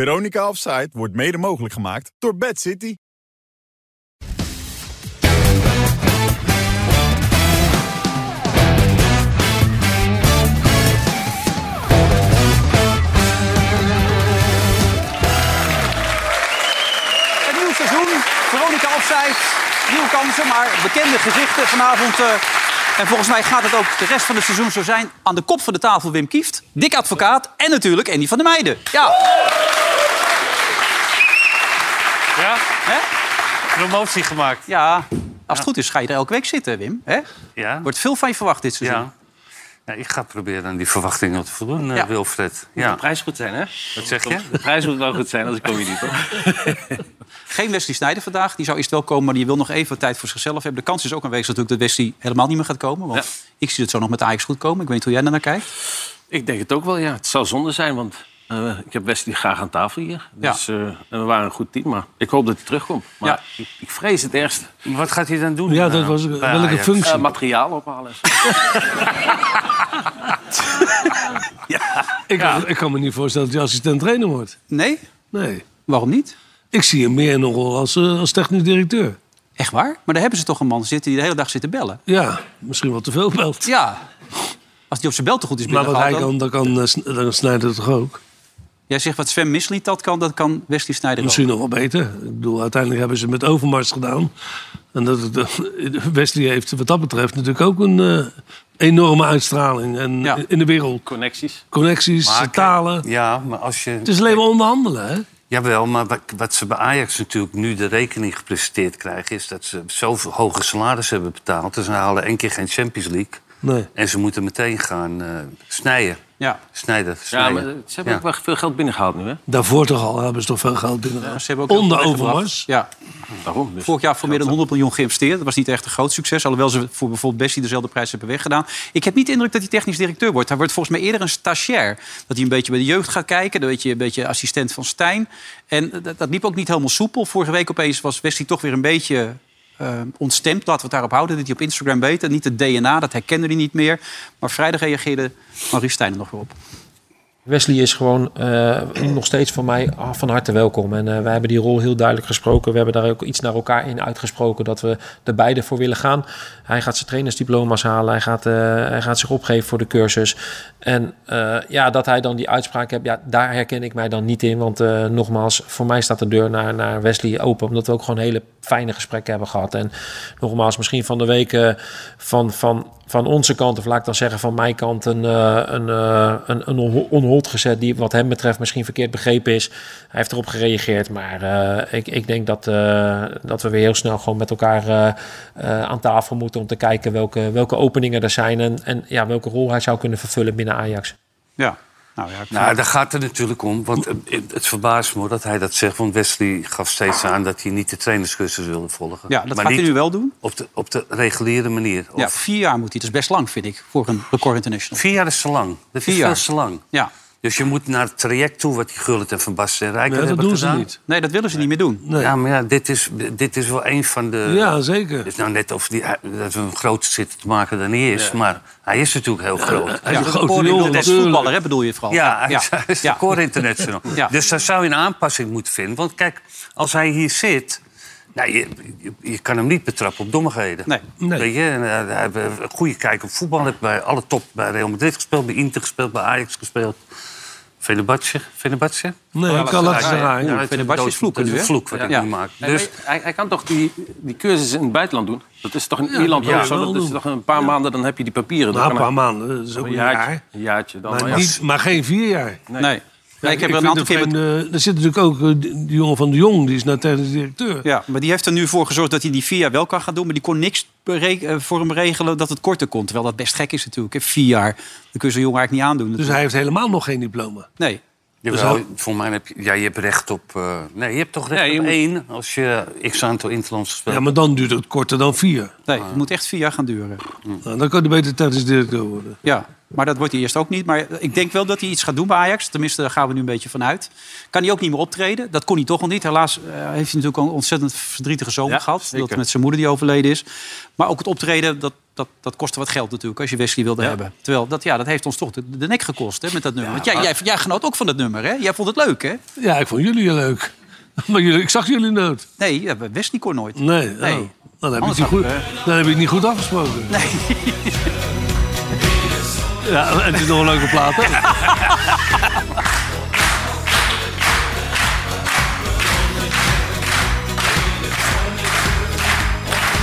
Veronica Offside wordt mede mogelijk gemaakt door Bad City. Het nieuw seizoen, Veronica Offside, nieuwe kansen, maar bekende gezichten vanavond. eh, en volgens mij gaat het ook de rest van het seizoen zo zijn. Aan de kop van de tafel Wim Kieft, Dick Advocaat en natuurlijk Andy van der Meijden. Ja, Ja, hè? promotie gemaakt. ja. als het goed is ga je er elke week zitten, Wim. Hè? Ja, Wordt veel van je verwacht dit seizoen. ja. ja ik ga proberen aan die verwachtingen te voldoen, eh, Ja. Wilfred. De Ja, prijs moet goed zijn, hè? wat zeg je? De prijs moet wel goed zijn, anders kom je niet, hoor. Geen Wesley Snijder vandaag. Die zou eerst wel komen, maar die wil nog even wat tijd voor zichzelf hebben. De kans is ook aanwezig natuurlijk dat Wesley helemaal niet meer gaat komen. Want ik zie het zo nog met Ajax goed komen. Ik weet niet hoe jij daarnaar kijkt. Ik denk het ook wel, ja. Het zou zonde zijn, want eh, ik heb Wesley graag aan tafel hier. Ja. Dus, eh, en we waren een goed team, maar ik hoop dat hij terugkomt. Maar Ja. ik, ik vrees het ergste. Wat gaat hij dan doen? Ja, dat nou, was bij welke Ajax? functie. Eh, materiaal ophalen. ik, ik kan me niet voorstellen dat hij assistent trainer wordt. Nee? Nee. Waarom niet? Ik zie hem meer nog wel als, eh, als technisch directeur. Echt waar? Maar daar hebben ze toch een man zitten die de hele dag zit te bellen. Ja, misschien wel te veel belt. Ja. Als die op zijn bel te goed is maar wat hij binnengehaald... dan- kan, dan kan, eh, Sn- dan Snijder toch ook. Jij zegt wat Sven misliet dat kan, dat kan Wesley Snijder ook. Misschien nog wel beter. Ik bedoel, uiteindelijk hebben ze het met Overmars gedaan. En dat, het, eh, Wesley heeft wat dat betreft natuurlijk ook een eh, enorme uitstraling. En Ja. in de wereld. Connecties. Connecties, Maar- talen. Ja, maar als je... Het is alleen maar onderhandelen, hè? Jawel, maar wat, wat ze bij Ajax natuurlijk nu de rekening gepresenteerd krijgen... is dat ze zoveel hoge salaris hebben betaald. Dus ze halen één keer geen Champions League. Nee. En ze moeten meteen gaan eh, snijden. Ja. Snijden, Ja, snijden. maar eh, ze hebben Ja. ook wel veel geld binnengehaald nu, hè? Daarvoor toch al hebben ze toch veel geld binnen. Nou, Ze hebben ook heel Onder veel weggebracht. Overmars. Ja. Daarom. Dus. Vorig jaar voor meer dan 100 miljoen geïnvesteerd. Dat was niet echt een groot succes. Alhoewel ze voor bijvoorbeeld Bessie dezelfde prijs hebben weggedaan. Ik heb niet de indruk dat hij technisch directeur wordt. Hij wordt volgens mij eerder een stagiair. Dat hij een beetje bij de jeugd gaat kijken. Een beetje, een beetje assistent van Stijn. En dat, dat liep ook niet helemaal soepel. Vorige week opeens was Bessie toch weer een beetje eh, ontstemd. Laten we het daarop houden. Dat hij op Instagram weet. En niet het DNA, dat herkende hij niet meer. Maar vrijdag reageerde Maurice Stijn er nog weer op. Wesley is gewoon eh, nog steeds van mij ah, van harte welkom. En eh, wij hebben die rol heel duidelijk gesproken. We hebben daar ook iets naar elkaar in uitgesproken dat we er beide voor willen gaan. Hij gaat zijn trainersdiploma's halen. Hij gaat, eh, hij gaat zich opgeven voor de cursus. En eh, ja, dat hij dan die uitspraak heeft, ja, daar herken ik mij dan niet in. Want eh, nogmaals, voor mij staat de deur naar, naar Wesley open. Omdat we ook gewoon hele fijne gesprekken hebben gehad. En nogmaals, misschien van de week eh, van, van, van onze kant, of laat ik dan zeggen van mijn kant, een, eh, een, eh, een, een onho- onhold gezet die wat hem betreft misschien verkeerd begrepen is. Hij heeft erop gereageerd, maar eh, ik, ik denk dat, eh, dat we weer heel snel gewoon met elkaar eh, eh, aan tafel moeten om te kijken welke, welke openingen er zijn en, en ja, welke rol hij zou kunnen vervullen binnen Ajax. Ja. Nou ja, ik Nou, daar gaat het natuurlijk om. Want eh, het verbaast me hoor dat hij dat zegt. Want Wesley gaf steeds aan dat hij niet de trainerscursus wilde volgen. Ja, dat maar gaat hij niet nu wel doen. Op de, op de reguliere manier. Ja, Of vier jaar moet hij. Dat is best lang, vind ik, voor een record international. Vier jaar is te lang. Dat Vier is jaar. veel te lang. Ja. Dus je moet naar het traject toe wat die Gullit en Van Basten en Rijker Nee, dat hebben doen ze gedaan. niet. Nee, dat willen ze niet meer doen. Nee. Ja, maar ja, dit is, dit is wel een van de... Ja, zeker. Het is nou net of die, dat we hem groter zitten te maken dan hij is. Maar hij is natuurlijk heel groot. Hij is een grote Voor jongen, een natuurlijk. voetballer, hè, bedoel je vooral? Ja, hij is- hij is de Ja. core international. Ja. Dus daar zou je een aanpassing moeten vinden. Want kijk, als hij hier zit... Nou, je, je, je kan hem niet betrappen op dommigheden. Nee. Nee. Weet je, en, eh, hij heeft een goede kijk op voetbal. Hij heeft bij alle top bij Real Madrid gespeeld, bij Inter gespeeld, bij Ajax gespeeld. Fenerbahce, Fenerbahce? Nee, ik kan laten ze Ja, draaien. dat is een Fenerbahce is dood- vloeken dat is nu, een hè? vloek wat ik Ja. nu maak. Dus Dus, hij, hij kan toch die, die cursus in het buitenland doen? Dat is toch in Ierland dat ook kan je zo? wel Dat is doen. toch een paar maanden, dan heb je die papieren. Dan Nou, een kan paar maanden, dat is ook hij een een jaartje, jaar. een jaartje dan. Maar, ja. niet, maar geen vier jaar. Nee. Nee, ik heb er een vind aantal keer... het eh, vreemde- er zit natuurlijk ook eh, die die jongen van de Jong, die is nou technisch directeur. Ja, maar die heeft er nu voor gezorgd dat hij die vier jaar wel kan gaan doen. Maar die kon niks bere- eh, voor hem regelen dat het korter kon. Terwijl dat best gek is natuurlijk. Hè. Vier jaar, dan kun je zo'n jongen eigenlijk niet aandoen. Dus hij heeft helemaal nog geen diploma. Nee, Jawel, Dus voor mij heb je, ja, je hebt recht op... eh, nee, je hebt toch recht Nee, je op moet- één als je x aantal interlands gespeeld Ja, maar dan duurt het korter dan vier. nee het moet echt vier jaar gaan duren. Nou, dan kan hij beter technisch directeur worden. Ja, maar dat wordt hij eerst ook niet. Maar ik denk wel dat hij iets gaat doen bij Ajax. Tenminste, daar gaan we nu een beetje van uit. Kan hij ook niet meer optreden? Dat kon hij toch al niet. Helaas eh, heeft hij natuurlijk al een ontzettend verdrietige zomer Ja, gehad. Dat zeker. met zijn moeder die overleden is. Maar ook het optreden, dat dat, dat kostte wat geld natuurlijk, als je Wesley wilde hebben. Terwijl, dat, ja, dat heeft ons toch de, de nek gekost hè, met dat nummer. Want jij, jij, jij genoot ook van dat nummer, hè? Jij vond het leuk, hè? Ja, ik vond jullie leuk. Maar jullie, ik zag jullie nooit. Nee, ja, Wesley kon nooit. Nee, Nee. oh. Dan, heb ik Anders niet goed, hadden dan heb ik het niet goed afgesproken. Nee. Ja, en het is nog een leuke plaat, hè?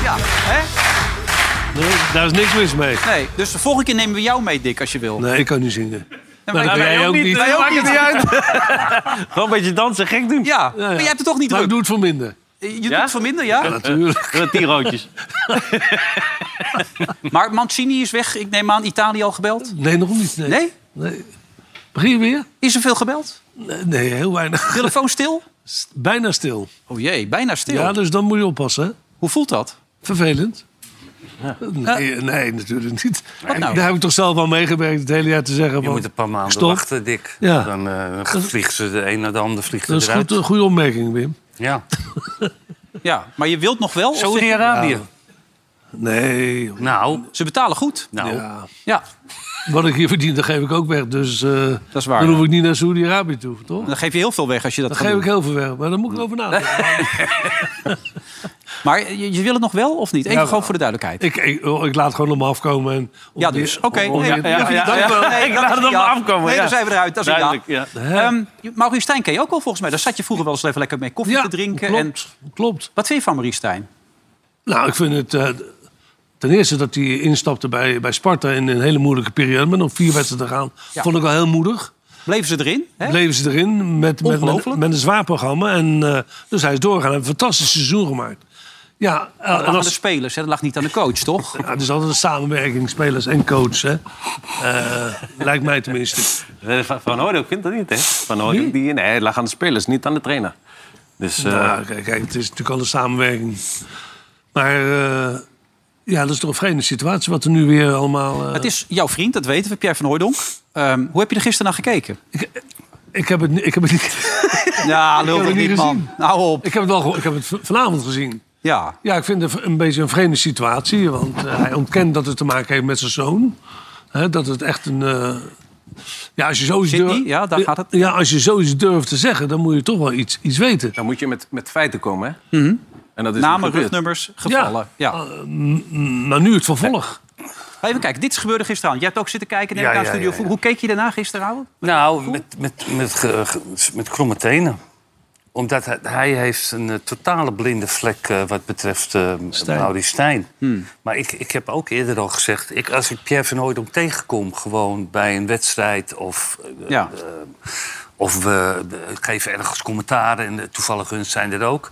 Ja, hè? Nee, daar is niks mis mee. Nee. Dus de volgende keer nemen we jou mee, Dick, als je wil. Nee, ik kan niet zingen. maar maar dat wij- doe jij ook niet. Wij ook niet. Gewoon een beetje dansen, gek doen. Ja, maar jij hebt het toch niet Maar ik druk. doe het voor minder. Je doet het voor minder, ja? Natuurlijk. Met die roodjes. Maar Mancini is weg. Ik neem aan, Italië al gebeld? Nee, nog niet. Nee? Nee? Nee. Begin je weer? Is er veel gebeld? Nee, nee, heel weinig. Telefoon stil? S- Bijna stil. Oh jee, bijna stil. Ja, dus dan moet je oppassen. hè? Hoe voelt dat? Vervelend. Nee, nee, natuurlijk niet. Wat nou? Daar heb ik toch zelf al meegewerkt het hele jaar te zeggen. Je van, moet een paar maanden stop. wachten, Dick. Ja. Dan eh, vliegen ze de een naar de ander vliegt Dat is eruit. goed, een goede opmerking, Wim. Ja. Ja, maar je wilt nog wel? of zeg- Saudi-Arabië. Nee, Nou, Ze betalen goed. nou. ja. Ja, wat ik hier verdien, dat geef ik ook weg. Dus eh, dat is waar. dan ja. Nou, hoef ik niet naar Saudi-Arabië toe, toch? Dan geef je heel veel weg als je dat Dan gaat geef ik doen. heel veel weg, maar dan moet ik erover nadenken. Maar je, je wil het nog wel of niet? Ja, Even gewoon wel. voor de duidelijkheid. Ik, Oh, ik, oh, ik laat gewoon om me afkomen. En om Ja, die- dus. Oké. om- om nee, die- ja, ja, ja, dank ja. wel. Nee, Ik dat laat is het op me ja. afkomen, Nee, ja. daar zijn we eruit. Dat is ja. Duidelijk, ja. Ehm Maurice Stijn ken je ook wel volgens mij. Daar zat je vroeger wel eens even lekker mee koffie Ja, te drinken. En... Klopt, klopt. Wat vind je van Maurice Stijn? Nou, ik vind het... eh, ten eerste dat hij instapte bij, bij Sparta in een hele moeilijke periode. Met nog vier wedstrijden te gaan. Ja. Vond ik wel heel moedig. Bleven ze erin? Hè? Bleven ze erin met, met, met, Ongelooflijk. met een zwaar programma. En, eh, dus hij is doorgaan. Hij heeft een fantastisch seizoen gemaakt. Ja, eh, Dat lag en aan de als, spelers, hè? dat lag niet aan de coach, toch? ja, het is altijd een samenwerking, spelers en coach. Hè. Eh, lijkt mij tenminste. Eh, Van Van Hooydonk vindt dat niet, hè? Van Hooydonk, die... Nee, het lag aan de spelers, niet aan de trainer. Dus... eh, Nou, kijk, kijk, het is natuurlijk al een samenwerking. Maar eh, ja, dat is toch een vreemde situatie wat er nu weer allemaal... eh, Het is jouw vriend, dat weten we, Pierre van Hooijdonk. Ehm, hoe heb je er gisteren naar gekeken? ik, heb het, ni- ik, heb het, niet- Ja, lul heb toch het niet, niet man. gezien. Nou op. ik heb het al geho- ik heb het v- vanavond gezien. Ja, Ja, ik vind het een beetje een vreemde situatie. Want eh, hij ontkent dat het te maken heeft met zijn zoon. Hè, dat het echt een. eh, ja, als je zoiets Sydney, durft. ja, daar gaat het. Ja, als je zoiets durft te zeggen, dan moet je toch wel iets, iets weten. Dan moet je met, met feiten komen, hè? En dat is Mhm. namen, niet gebeurd. rugnummers, gevallen. Ja. Eh, m- m- maar nu het vervolg. Even kijken, dit is gebeurde gisteravond. Jij hebt ook zitten kijken in Ja, de ja, studio. ja, ja. Hoe keek je daarna gisteravond? Nou, met, met, met, ge- ge- met kromme tenen. Omdat hij, hij heeft een eh, totale blinde vlek eh, wat betreft eh Maurice Stijn. Hmm. Maar ik, ik heb ook eerder al gezegd... Ik, als ik Pierre van Hooydonk tegenkom, gewoon bij een wedstrijd... of, eh, Ja. eh, of we eh, geven ergens commentaar en eh, toevallig hun zijn er ook...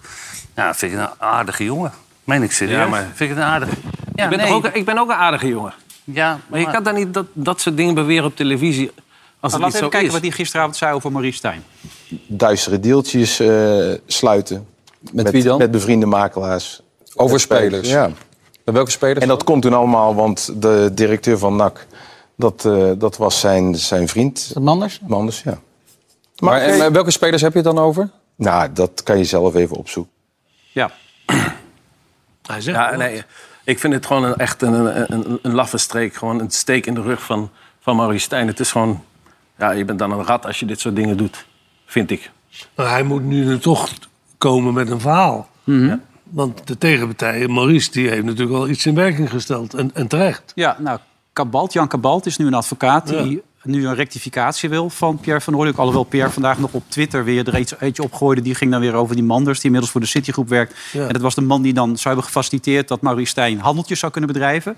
Nou, vind ik een aardige jongen. Meen ik serieus? Ja, maar- Vind ik een aardige... Ja, Ik ben, nee. toch ook, ik ben ook een aardige jongen. ja, Maar je kan dan niet dat, dat soort dingen beweren op televisie... als het Laten niet we zo even kijken is. wat hij gisteravond zei over Maurice Stijn. duistere deeltjes eh, sluiten. Met wie dan? Met bevriende makelaars. Over Met spelers. Ja. Bij welke spelers? En dat komt toen allemaal, want de directeur van NAC, dat, eh, dat was zijn, zijn vriend. Manders? Manders, ja. Maar, Maar, en, maar welke spelers heb je het dan over? nou, dat kan je zelf even opzoeken. Ja. Hij zegt. Ja, wel. nee, ik vind het gewoon een, echt een, een, een, een laffe streek. Gewoon een steek in de rug van, van Maurice Stijn. Het is gewoon... Ja, je bent dan een rat als je dit soort dingen doet. Vind ik. Maar hij moet nu er toch komen met een verhaal. Mhm. Want de tegenpartij, Maurice, die heeft natuurlijk al iets in werking gesteld. En, en terecht. ja, nou, Cabalt, Jan Cabalt is nu een advocaat die nu een rectificatie wil van Pierre van Hooydonk. Alhoewel Pierre vandaag nog op Twitter weer er iets- eentje opgooide. Die ging dan weer over die Manders, die inmiddels voor de Citigroep werkt. Ja. En dat was de man die dan zou hebben gefaciliteerd... dat Maurice Stijn handeltjes zou kunnen bedrijven.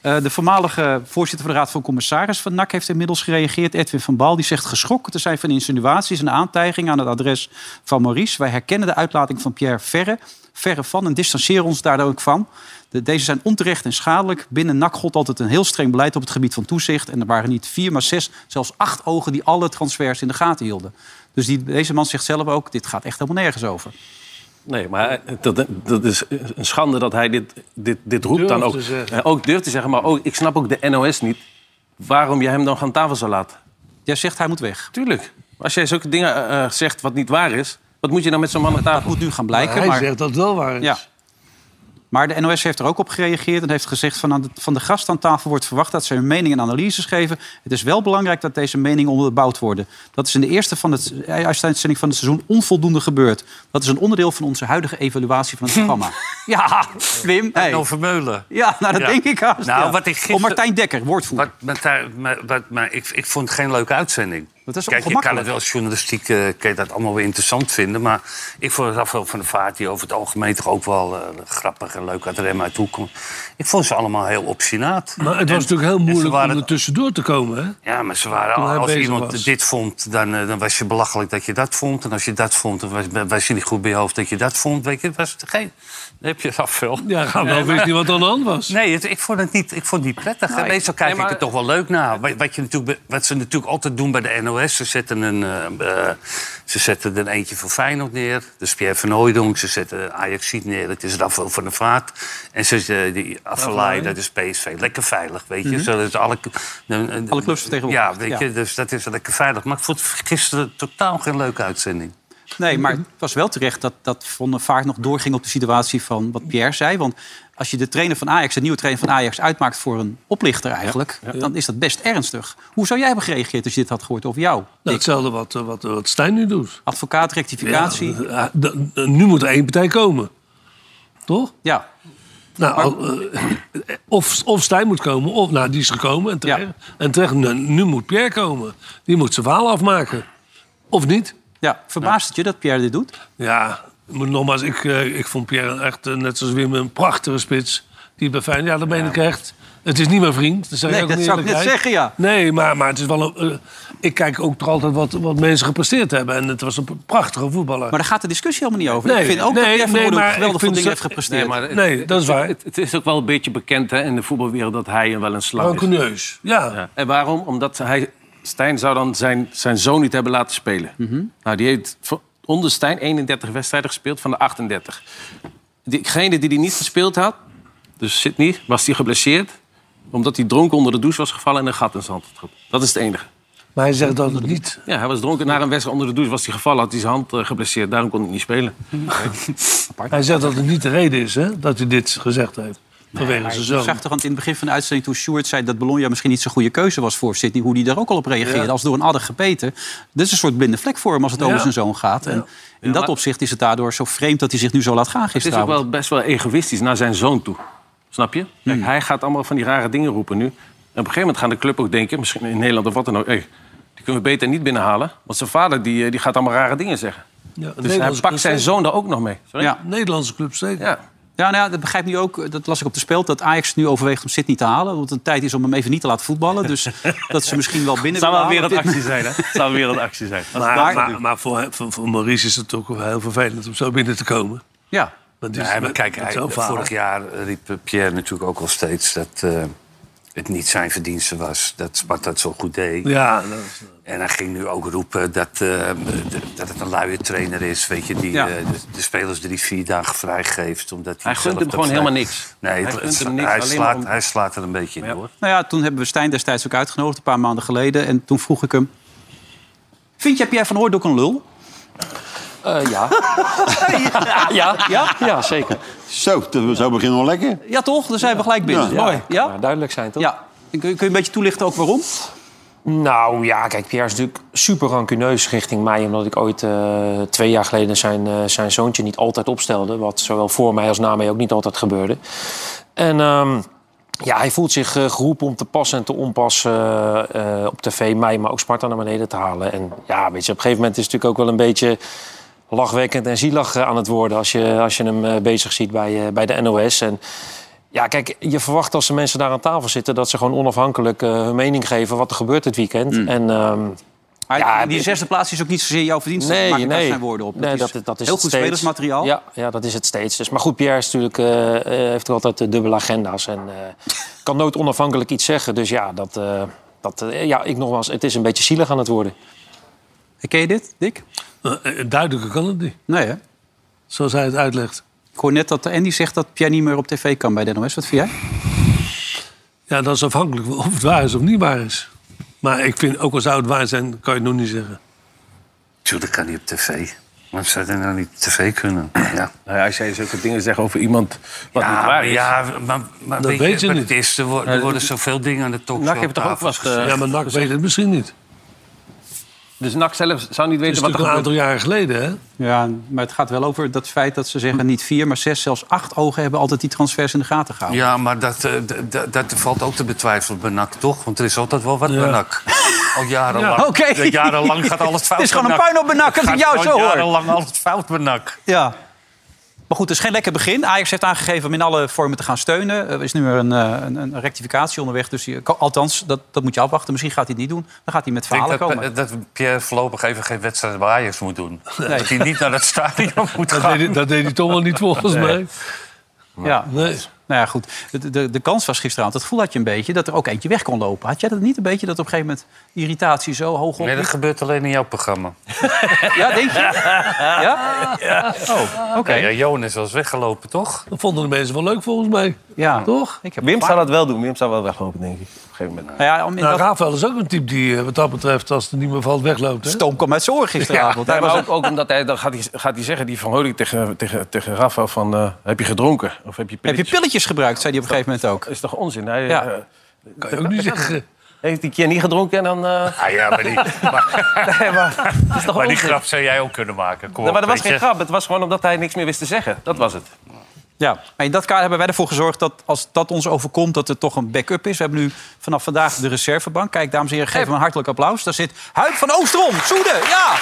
Eh, de voormalige voorzitter van de Raad van Commissaris van NAC... heeft inmiddels gereageerd, Edwin van Baal. Die zegt geschokt te zijn van insinuaties en aantijgingen... aan het adres van Maurice. Wij herkennen de uitlating van Pierre Verre, verre van... en distancieren ons daar ook van. De, deze zijn onterecht en schadelijk. Binnen NAC gold altijd een heel streng beleid op het gebied van toezicht. En er waren niet vier, maar zes, zelfs acht ogen... die alle transfers in de gaten hielden. Dus die, deze man zegt zelf ook, dit gaat echt helemaal nergens over. Nee, maar eh, dat, dat is een schande dat hij dit, dit, dit roept Durft dan ook. te zeggen. Eh, Ook durft te zeggen, maar ook, ik snap ook de NOS niet... waarom je hem dan aan tafel zou laten. Jij zegt, hij moet weg. Tuurlijk. Als jij zulke dingen eh, eh, zegt wat niet waar is... wat moet je dan met zo'n man aan tafel? Moet nu gaan blijken, hij dus- maar... zegt dat het wel waar is. Ja. Maar de NOS heeft er ook op gereageerd en heeft gezegd... Van, aan de, van de gast aan tafel wordt verwacht dat ze hun mening en analyses geven. Het is wel belangrijk dat deze meningen onderbouwd worden. Dat is in de eerste van het, eh, uitzending van het seizoen onvoldoende gebeurd. Dat is een onderdeel van onze huidige evaluatie van het programma. ja, Wim. hey. Menno Vermeulen. Ja, nou, dat Ja. denk ik haast. Nou, ja. wat ik Om gisteren- Martijn Dekker, woordvoerder. Wat, maar, daar- maar, wat- maar ik, ik vond het geen leuke uitzending. Dat is Kijk, je kan het ongemakkelijk. wel journalistiek eh, kan je dat allemaal weer interessant vinden. Maar ik vond Rafael van der Vaart, die over het algemeen toch ook wel eh, grappig en leuk uit de rem uit toe komt. Ik vond ze allemaal heel obstinaat. Maar het was En- natuurlijk heel en ze moeilijk om waren- er tussendoor te komen. Hè? Ja, maar ze waren, Toen hij als bezig iemand was. dit vond, dan, eh, dan was je belachelijk dat je dat vond. En als je dat vond, dan was, was je niet goed bij je hoofd dat je dat vond. Weet je, het was het geen... Dan heb je Rafael. Ja, gaan we wel weten niet wat er aan de hand was. Nee, het- ik, vond het niet, ik vond het niet prettig. En Meestal kijk maar- ik het toch wel leuk na. Wat, wat, je natuurlijk, be- wat ze natuurlijk altijd doen bij de NOS... ze zetten, een, eh, eh, ze zetten er eentje voor Feyenoord neer. Dus Pierre van Hooijdonk, ze zetten ajax neer. Dat is Rafael van der Vaart. En ze, ze- die Afellay, dat is PSV. Lekker veilig, weet Mhm. je. Zodat alle, Alle clubs vertegenwoordigd, Ja, weet ja. je, dus dat is lekker veilig. Maar ik vond gisteren totaal geen leuke uitzending. Nee, maar het was wel terecht dat, dat Van der Vaart nog doorging op de situatie van wat Pierre zei. Want als je de trainer van Ajax, de nieuwe trainer van Ajax, uitmaakt voor een oplichter eigenlijk, dan is dat best ernstig. Hoe zou jij hebben gereageerd als je dit had gehoord over jou? Nou, Dick? hetzelfde wat, eh, wat, wat Stijn nu doet. Advocaat, rectificatie. Ja. Ja, eh, d- d- nu moet er één partij komen. Toch? Nou, al- eh, of, of Stijn moet komen, of nou, die is gekomen en terecht. Ja. En terecht, nu, nu moet Pierre komen. Die moet zijn verhaal afmaken. Of niet? Ja, verbaast het je dat Pierre dit doet? Ja, maar nogmaals, ik, eh, ik vond Pierre echt, eh, net zoals Wim, een prachtige spits. Die bij Feyenoord, ja, dat meen ik echt. Het is niet mijn vriend. Dat, zeg Nee, ik ook dat in zou ik net eerlijkheid. zeggen, ja. Nee, maar, maar het is wel een, eh, ik kijk ook toch altijd wat, wat mensen gepresteerd hebben. En het was een prachtige voetballer. Maar daar gaat de discussie helemaal niet over. Nee, ik vind ook nee, dat Pierre van nee, Hooijdonk maar geweldig ik veel vind dingen heeft ze- gepresteerd. het- Nee, dat is waar. Het, het is ook wel een beetje bekend hè, in de voetbalwereld dat hij wel een slag is. Rancuneus, ja. Ja. En waarom? Omdat hij, Stijn zou dan zijn, zijn zoon niet hebben laten spelen. Nou, die heeft voor- onder Stijn 31 wedstrijden gespeeld van de 38. Diegene die die niet gespeeld had, dus Sidney, was die geblesseerd omdat hij dronken onder de douche was gevallen en een gat in zijn hand had gehad. Dat is het enige. Maar hij zegt dat het niet. Ja, hij was dronken na een wedstrijd onder de douche, was hij gevallen, had hij zijn hand eh, geblesseerd. Daarom kon hij niet spelen. Hij zegt dat het niet de reden is hè, dat hij dit gezegd heeft. Vanwege zijn Ik zoon. zag toch aan het- in het begin van de uitzending toen Sjoerd zei... dat Bologna misschien niet zo'n goede keuze was voor Sydney... hoe die daar ook al op reageerde, als door een adder gepeten. Dit is een soort blinde vlek voor hem als het over zijn zoon gaat. En in dat maar- opzicht is het daardoor zo vreemd... dat hij zich nu zo laat gaan Het is ook gisteravond. wel best wel egoïstisch naar zijn zoon toe. Snap je? Kijk, Hij gaat allemaal van die rare dingen roepen nu. En op een gegeven moment gaan de club ook denken, misschien in Nederland of wat dan ook... Hey, die kunnen we beter niet binnenhalen, want zijn vader die, eh, die gaat allemaal rare dingen zeggen. Ja, Dus hij pakt zijn zoon daar ook nog mee. Sorry? Ja. Nederlandse club zeker. Ja. Ja, nou ja, dat begrijp ik nu ook. Dat las ik op de speld. Dat Ajax nu overweegt om Sydney te halen. Want het tijd is om hem even niet te laten voetballen. Dus dat ze misschien wel binnen Zou wel willen weer een halen. actie zijn, hè? Zou weer een actie zijn. Maar, maar, maar voor, voor, voor Maurice is het toch wel heel vervelend om zo binnen te komen. Ja. Want het is Nee, maar met- kijk, met hij- zo'n verhaal. vorig jaar riep eh, Pierre natuurlijk ook al steeds dat eh, het niet zijn verdienste was. Dat Sparta dat zo goed deed. Ja, dat is- En hij ging nu ook roepen dat, eh, d- dat het een luie trainer is, weet je, die Ja. eh, de, de spelers drie, vier dagen vrijgeeft. Omdat Hij zelf gunt hem dat gewoon vrij- helemaal niks. Nee, Hij het- gunt hem het- niks, hij, alleen slaat, maar om- hij slaat er een beetje in, hoor. Nou ja, toen hebben we Stijn destijds ook uitgenodigd. Een paar maanden geleden. En toen vroeg ik hem... Vind jij Pierre van Hooijdonk een lul? Eh, ja. Ja? Ja, ja, zeker. Zo, dat- zo beginnen we lekker. toch? Dan zijn we gelijk binnen. Ja. Mooi. Ja? Nou, duidelijk zijn, toch? Ja. En kun, je, kun je een beetje toelichten ook waarom? Nou ja, kijk, Pierre is natuurlijk super rancuneus richting mij. Omdat ik ooit eh, twee jaar geleden zijn, eh, zijn zoontje niet altijd opstelde. Wat zowel voor mij als na mij ook niet altijd gebeurde. En ehm, ja, hij voelt zich eh, geroepen om te passen en te onpassen eh, eh, op tv. Mij, maar ook Sparta naar beneden te halen. En ja, weet je, op een gegeven moment is het natuurlijk ook wel een beetje lachwekkend en zielig eh, aan het worden. Als je, als je hem eh, bezig ziet bij, eh, bij de NOS. En ja, kijk, je verwacht als de mensen daar aan tafel zitten... dat ze gewoon onafhankelijk eh, hun mening geven wat er gebeurt dit weekend. Hmm. En ehm, Maar Ja, die ik- zesde plaats is ook niet zozeer jouw verdienste. nee, maak ik daar nee. zijn woorden op. Dat Nee, is, heel het goed steeds. spelersmateriaal. Ja, ja, dat is het steeds. Dus, maar goed, Pierre is natuurlijk, eh, eh, heeft er altijd eh, dubbele agenda's. En eh, kan nooit onafhankelijk iets zeggen. Dus ja, dat, eh, dat, eh, ja, ik nogmaals, het is een beetje zielig aan het worden. Ken je dit, Dick? eh, eh, duidelijker kan het niet, Nee, hè? Ik zoals hij het uitlegt. hoor net dat Andy zegt dat Pierre niet meer op tv kan bij de NOS. Wat vind jij? Ja, dat is afhankelijk of het waar is of niet waar is. Maar ik vind, ook al zou het waar zijn, kan je het nog niet zeggen. Tuurlijk kan hij op tv. Waarom zou dat nou niet tv kunnen? Ja, Nou ja, als jij zulke dingen zegt over iemand wat ja, niet waar is. ja maar, maar weet, weet je je wat niet. het is? Er, wo- er worden zoveel dingen aan de talkshow Nak heeft toch ook tafel vast. gezet. eh, Ja, maar NAC weet het misschien niet. Het dus Nak zelf zou niet is weten wat er natuurlijk een gebeurt. aantal jaren geleden, hè? Ja, maar het gaat wel over dat feit dat ze zeggen... niet vier, maar zes, zelfs acht ogen hebben altijd die transfers in de gaten gehouden. Ja, maar dat, eh, d- d- dat valt ook te betwijfelen bij NAC, toch? Want er is altijd wel wat bij NAC. Al jarenlang. Ja, oké. Ja, Jarenlang gaat alles fout Het is bij gewoon een NAC. puinhoop bij NAC, Het als ik gaat jou gewoon zo hoor. jarenlang alles fout bij NAC. Ja. Maar goed, het is geen lekker begin. Ajax heeft aangegeven om in alle vormen te gaan steunen. Er is nu weer een, eh, een, een rectificatie onderweg. Dus je, kan- althans, dat, dat moet je afwachten. Misschien gaat hij het niet doen. Dan gaat hij met Ik verhalen denk komen. dat, dat Pierre voorlopig even geen wedstrijd bij Ajax moet doen. Nee. Dat hij niet naar het stadion moet Dat gaan. deed, hij- dat deed hij toch wel niet volgens mij. eh, ja. Nee. Nou ja, goed. De, de, de kans was gisteravond, dat voel had je een beetje, dat er ook eentje weg kon lopen. Had jij dat niet een beetje, dat op een gegeven moment irritatie zo hoog op? Nee, dat gebeurt alleen in jouw programma. Ja, denk je? Ja? Oh, oké. Ja, Jonas was weggelopen, toch? Dat vonden de mensen wel leuk volgens mij. Ja. Toch? Ik heb Wim een zou paar- dat wel doen. Wim zou wel weglopen, denk ik. Op een gegeven moment. Nou ja, om in Nou, dat... Rafael is ook een type die eh, wat dat betreft, als het niet meer valt, wegloopt. Hè? Stoom kwam uit zijn oor gisteravond. Nee, Hij was maar ook, ook omdat hij, dan gaat hij, gaat hij zeggen, die Van Hooydonk tegen, tegen, tegen Rafa van... eh, heb je gedronken? Of heb je Heb je pilletjes? pilletjes gebruikt, zei hij op een gegeven moment ook. Dat is toch onzin? Hij, Ja. eh, Kan je ook niet zeggen. Heeft die keer niet gedronken en dan... eh, Ah ja, maar die, maar, nee, maar, dat is toch maar die onzin? grap zou jij ook kunnen maken. Kom Nee, op, maar dat was weet geen je. grap. Het was gewoon omdat hij niks meer wist te zeggen. Dat was het. Ja. Maar in dat kader hebben wij ervoor gezorgd dat als dat ons overkomt... dat er toch een backup is. We hebben nu vanaf vandaag de reservebank. Kijk, dames en heren, geef hem een hartelijk applaus. Daar zit Huip van Oostrom. Soede, ja!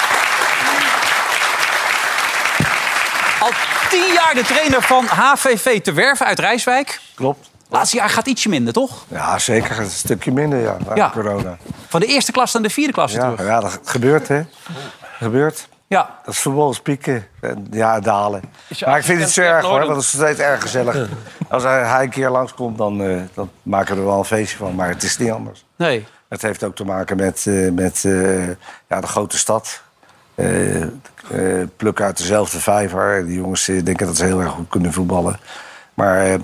Al tien jaar de trainer van HVV te werven uit Rijswijk. Klopt. Laatste jaar gaat ietsje minder, toch? Ja, zeker. Een stukje minder, ja. Na Ja. corona. Van de eerste klas naar de vierde klasse Ja, terug. ja, dat gebeurt, hè. Gebeurt. Ja. Dat is voetbal, spieken. En, ja, dalen. Maar ik vind het zo erg, hoor. Want het is steeds erg gezellig. Als hij, hij een keer langskomt, dan, eh, dan maken we er wel een feestje van. Maar het is niet anders. Nee. Het heeft ook te maken met, eh, met eh, ja, de grote stad. Eh eh, pluk uit dezelfde vijver. Die jongens eh, denken dat ze heel erg goed kunnen voetballen. Maar eh,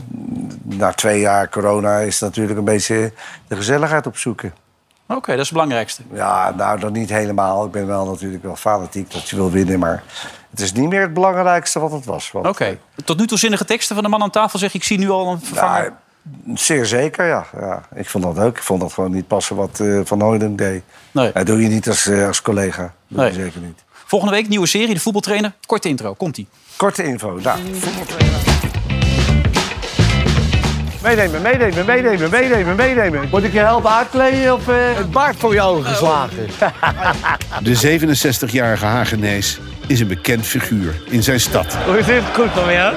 na twee jaar corona is het natuurlijk een beetje de gezelligheid opzoeken. Oké, dat is het belangrijkste. Ja, nou, dat niet helemaal. Ik ben wel natuurlijk wel fanatiek dat je wil winnen. Maar het is niet meer het belangrijkste wat het was. Want, Oké. Tot nu toe zinnige teksten van de man aan tafel zeg ik, ik zie nu al een vervanger. Ja, zeer zeker, ja. ja. Ik vond dat ook. Ik vond dat gewoon niet passen wat eh, Van Hooydonk deed. Nee. Dat doe je niet als, eh, als collega. Dat doe je Nee. zeker niet. Volgende week nieuwe serie, de voetbaltrainer. Korte intro, komt-ie. Korte info. Nou, Meenemen, meenemen, meenemen, meenemen, meenemen. Moet ik je helpen uitkleden of... Het baard voor je ogen geslagen. De 67-jarige Hagenees is een bekend figuur in zijn stad. Hoe is dit? Goed van jou?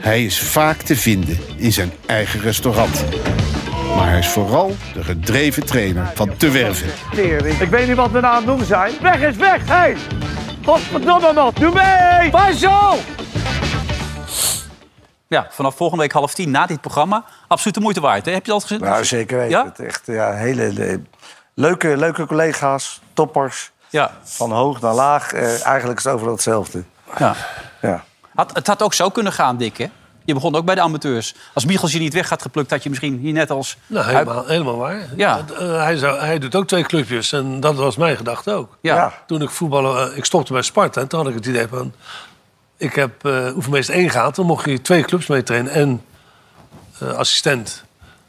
Hij is vaak te vinden in zijn eigen restaurant. Maar hij is vooral de gedreven trainer van Te Werven. Ik weet niet wat we nou aan het doen zijn. Weg is weg, hé! Hey. Godverdomme man, doe mee! Wij zo! Ja, vanaf volgende week half tien na dit programma. Absoluut de moeite waard. Hè? Heb je dat al gezien? nou zeker weten. Ja? Het echt ja, hele le- leuke, leuke collega's, toppers. Ja. Van hoog naar laag. Eh, eigenlijk is het overal hetzelfde. ja. Ja. Had, het had ook zo kunnen gaan, Dick. Hè? Je begon ook bij de amateurs. Als Michels je niet weg had geplukt, had je misschien hier net als... Nou, helemaal, helemaal waar. Ja. Want, eh, hij, zou, hij doet ook twee clubjes en dat was mijn gedachte ook. Ja. Ja. Toen ik voetballen, eh, ik stopte bij Sparta en toen had ik het idee van... Ik heb eh oefenmeester 1 gehad, dan mocht je twee clubs mee trainen en eh, assistent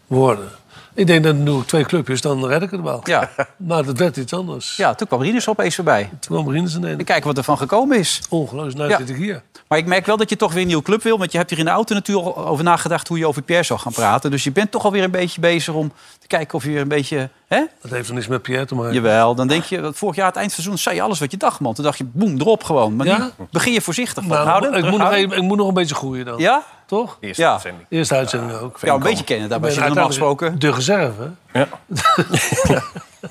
worden. Ik denk, dan doe ik twee clubjes, dan red ik het wel. Ja. Maar dat werd iets anders. ja, toen kwam Rieders opeens voorbij. Toen kwam Rinus en En ik... kijken wat er van gekomen is. Ongelooflijk, nu Ja. zit ik hier. Maar ik merk wel dat je toch weer een nieuwe club wil. Want je hebt hier in de auto natuurlijk al over nagedacht hoe je over Pierre zou gaan praten. Dus je bent toch alweer een beetje bezig om te kijken of je weer een beetje... Hè? Dat heeft er niks met Pierre te maken. Jawel, dan denk je, want vorig jaar het eindseizoen zei je alles wat je dacht, man. Toen dacht je, boem, erop gewoon. Maar Ja? nu begin je voorzichtig. Maar van. houden, ik, moet nog terughouden. even, ik moet nog een beetje groeien dan. Ja? Toch? Eerste Ja. uitzending. Eerste uitzending ook. Ja, een beetje kennen daarbij. Ik Zit ben je normaal uiteindelijk gesproken. De reserve. Ja,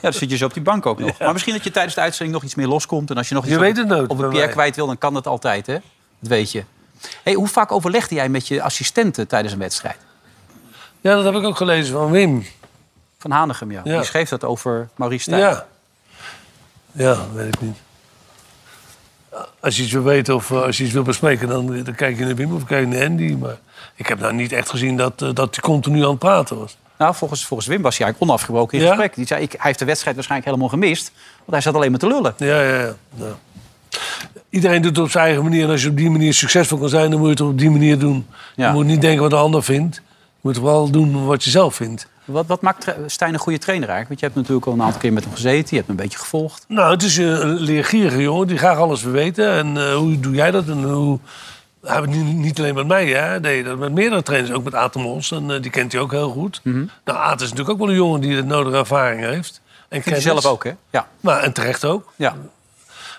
dan zit je zo op die bank ook nog. Maar misschien dat je tijdens de uitzending nog iets meer loskomt. En als je nog iets Je op, weet het nooit op bij een Pierre mij. kwijt wil, dan kan dat altijd, hè? Dat weet je. Hey, hoe vaak overlegde jij met je assistenten tijdens een wedstrijd? Ja, dat heb ik ook gelezen van Wim. Van Hanegem, ja. Ja. Die schreef dat over Maurice Stijn. Ja. Ja, weet ik niet. Als je iets wil weten of eh, als je iets wil bespreken, dan, dan kijk je naar Wim of kijk je naar Andy. Maar ik heb nou niet echt gezien dat, eh, dat hij continu aan het praten was. Nou, volgens, volgens Wim was hij eigenlijk onafgebroken in Ja? gesprek. Die zei, ik, hij heeft de wedstrijd waarschijnlijk helemaal gemist. Want hij zat alleen maar te lullen. Ja, ja, ja. ja. iedereen doet het op zijn eigen manier. En als je op die manier succesvol kan zijn, dan moet je het op die manier doen. Ja. Je moet niet denken wat de ander vindt. Je moet vooral doen wat je zelf vindt. Wat, wat maakt Tre- Stijn een goede trainer eigenlijk? Want je hebt natuurlijk al een aantal keer met hem gezeten. Je hebt hem een beetje gevolgd. Nou, het is een leergierige jongen die graag alles wil weten. En eh, hoe doe jij dat? En hoe... Hij heeft niet, niet alleen met mij, hè? Hij deed dat met meerdere trainers. Ook met Aad de Mos. En eh, die kent hij ook heel goed. Mhm. Nou, Aad is natuurlijk ook wel een jongen die de nodige ervaring heeft. En Vind je zelf ook, hè? Ja. Maar, en terecht ook. Ja.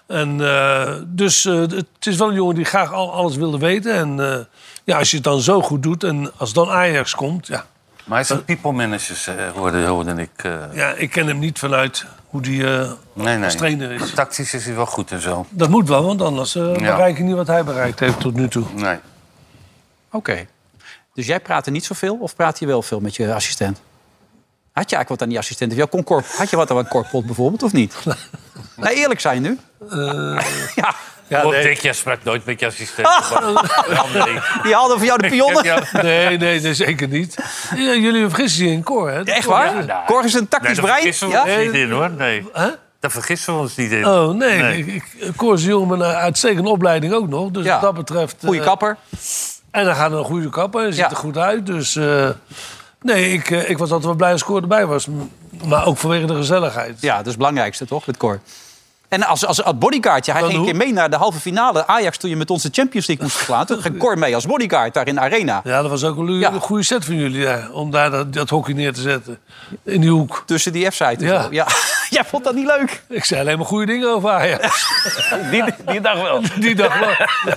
En, eh, dus eh, het is wel een jongen die graag al, alles wilde weten. En eh, ja, als je het dan zo goed doet en als dan Ajax komt... Ja, Maar hij is een people manager, eh, hoorde, hoorde ik. eh. ja ik ken hem niet vanuit hoe die eh, nee, nee. als trainer is. Tactisch is hij wel goed en zo. Dat moet wel, want anders eh, Ja. bereik je niet wat hij bereikt heeft tot nu toe. Nee. Oké. Dus jij praatte niet zoveel of praat je wel veel met je assistent? Had je eigenlijk wat aan die assistent? Of jouw concor- Had je wat aan een korpot bijvoorbeeld of niet? nou, eerlijk zijn nu. Eh. ja. Ja, Bob nee. Dik, jij sprak nooit met je assistent. André. Die hadden voor jou de pionnen. Ja, Nee, nee, nee, zeker niet. Ja, jullie vergissen je in Cor, hè? Echt waar? Ja, Korg is een Nee, tactisch daar brein. vergissen we ons Ja? niet in, hoor. Nee. Huh? Daar vergissen we ons niet in. Nou, Oh, nee. ik- ik- Cor is een jongen met een eh, uitstekende opleiding ook nog. Dus Ja. wat dat betreft... Goeie eh, kapper. En dan gaat er een goede kap en ziet Ja. er goed uit. Dus eh, nee, ik, eh, ik was altijd wel blij als Cor erbij was. M- Maar ook vanwege de gezelligheid. Ja, dat is het belangrijkste toch, met Cor? En als, als, als bodyguardje, hij Dan ging een hoe? keer mee naar de halve finale Ajax... toen je met onze Champions League moest verslaan. Toen ging Cor mee als bodyguard daar in de arena. Ja, dat was ook een, lu- Ja. een goede set van jullie, ja, om daar dat, dat hockey neer te zetten. In die hoek. Tussen die F-site. en Ja. zo. Ja. Jij vond dat niet leuk. Ik zei alleen maar goede dingen over Ajax. Die, die dag wel. Die dag wel.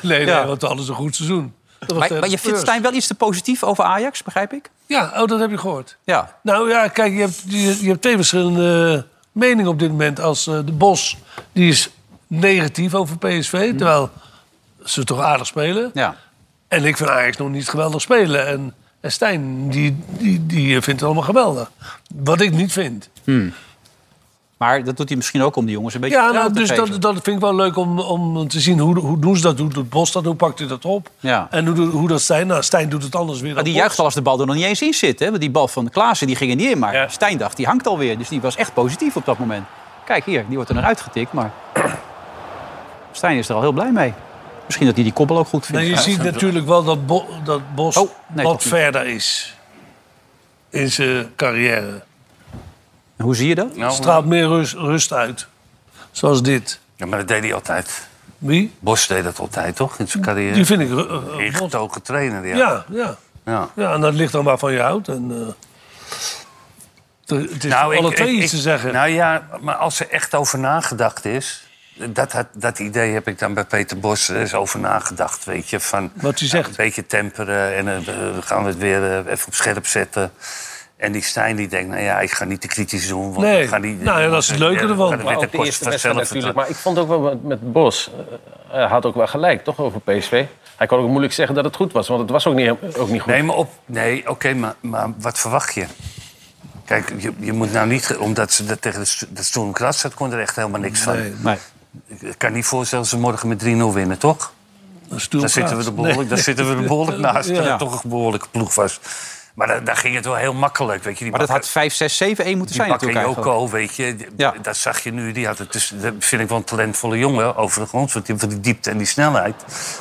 Nee, nee, Ja. want we hadden ze een goed seizoen. Dat was Maar, tegen maar je de vindt Spurs. Stijn wel iets te positief over Ajax, begrijp ik? Ja, oh, dat heb je gehoord. Ja. Nou ja, kijk, je hebt, je, je hebt twee verschillende eh, meningen op dit moment. Als eh, de Bos, die is negatief over PSV, terwijl ze toch aardig spelen. Hmm. ja. En ik vind Ajax nog niet geweldig spelen. En, en Stijn, die, die, die eh, vindt het allemaal geweldig. Wat ik niet vind. Maar dat doet hij misschien ook om die jongens een beetje Ja, nou, vertrouwen te dus geven. dat, dat vind ik wel leuk om, om te zien hoe, hoe doen ze dat. Hoe doet Bos dat? Hoe pakt hij dat op? Ja. En hoe, doet- hoe dat Stijn? Nou, Stijn doet het anders weer dan Maar die Bos. juicht al als de bal er nog niet eens in zit. Hè? Want die bal van Klaassen die ging er niet in. Maar Stijn dacht, die hangt alweer. Dus die was echt positief op dat moment. Kijk hier, die wordt er nog uitgetikt. Maar Stijn is er al heel blij mee. Misschien dat hij die koppel ook goed vindt. Nou, je ziet natuurlijk wel dat, Bo- dat Bos Oh, nee, wat toch niet. verder is in zijn carrière. En Hoe zie je dat? Nou, eh, Straalt meer rust, rust uit. Zoals dit. Ja, maar dat deed hij altijd. Wie? Bos deed dat altijd, toch? In zijn carrière. Die vind ik... ru- eh, eh, Bos. Ingetogen trainer, ja. ja, ja. Ja. Ja, en dat ligt dan waarvan je houdt. En, eh, er- het is voor alle twee iets te zeggen. Nou ja, maar als er echt over nagedacht is... Dat, had- dat idee heb ik dan bij Peter Bos er is over nagedacht, weet je. Van, Wat hij nou, zegt. een beetje temperen en eh, we gaan we het weer eh, even op scherp zetten. En die Stijn die denkt, nou ja, ik ga niet te kritisch doen. Want Nee. ik ga niet, Nou ja, dat is het leuke Ja, ervan. dan Maar werd ook de de kost eerste vanzelf natuurlijk. Maar ik vond ook wel wat met Bos. eh, Hij had ook wel gelijk, toch, over PSV. Hij kon ook moeilijk zeggen dat het goed was, want het was ook niet, ook niet goed. Nee, maar, op, nee, oké, maar, maar wat verwacht je? Kijk, je, je moet nou niet... ge- Omdat ze dat tegen de, stu- de Sturm Graz zat, kon er echt helemaal niks van. Nee. Ik kan niet voorstellen dat ze morgen met 3-0 winnen, toch? Een stoel Daar zitten, we praat. er behoorlijk, daar zitten we er behoorlijk naast. Ja. Dat het toch een behoorlijke ploeg was. Maar daar, daar ging het wel heel makkelijk, weet je. Die Maar dat had bakken- 5, 6, 7, 1 moeten die zijn natuurlijk eigenlijk. Bakayoko, weet je, die- Ja. dat zag je nu. Die had het dus, dat vind ik wel een talentvolle jongen overigens. Want die, van die diepte en die snelheid.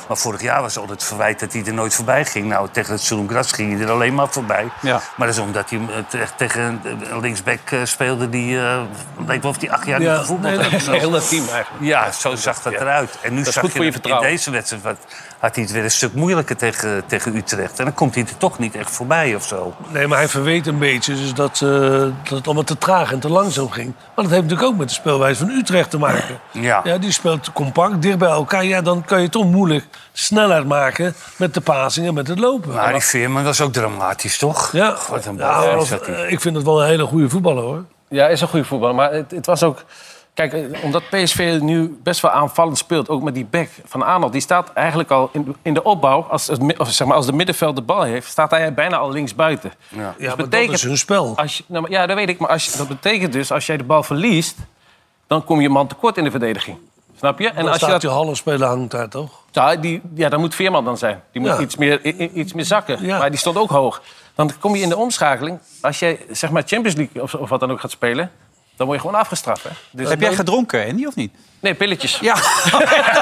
Maar vorig jaar was al het verwijt dat hij er nooit voorbij ging. Nou, tegen het Zulum Gras ging hij er alleen maar voorbij. Ja. Maar dat is omdat hij hem, eh, te- tegen een- een linksback eh, speelde die... eh leek wel of hij acht jaar Ja, niet gevoetbald nee, had. Het hele team eigenlijk. Ja, zo zag dat eruit. En nu is zag goed je, voor je dat in vertrouwen. deze wedstrijd wat, had hij het weer een stuk moeilijker tegen, tegen Utrecht. En dan komt hij er toch niet echt voorbij of zo. Nee, maar hij verweet een beetje dus dat, eh, dat het allemaal te traag en te langzaam ging. Maar dat heeft natuurlijk ook met de speelwijze van Utrecht te maken. Ja. ja die speelt compact, dicht bij elkaar. Ja, dan kan je toch moeilijk snelheid maken met de passing en met het lopen. Maar die Veerman was ook dramatisch, toch? ja, Wat een Ja, bal of, zat hij. eh, ik vind het wel een hele goede voetballer hoor. Ja, is een goede voetballer. Maar het, het was ook... Kijk, eh, omdat PSV nu best wel aanvallend speelt, ook met die back van Arnold... die staat eigenlijk al in, in de opbouw, als, het mi- of zeg maar, als de middenveld de bal heeft... staat hij bijna al linksbuiten. Ja. Ja, maar dat betekent- is hun spel. Als je, nou, maar- ja, dat weet ik. Maar als je, dat betekent dus, als jij de bal verliest... dan kom je man tekort in de verdediging. Snap je? En En als je staat dat, die halve speler hangt daar toch? nou, die, ja, dat moet Veerman dan zijn. Die moet Ja. iets, meer, i- i- iets meer zakken. Ja. Maar die stond ook hoog. Dan kom je in de omschakeling. Als jij zeg maar Champions League of, of wat dan ook gaat spelen... Dan word je gewoon afgestraft. Hè? Dus Eh, Heb jij gedronken, Andy, of niet? Nee, pilletjes. Ja.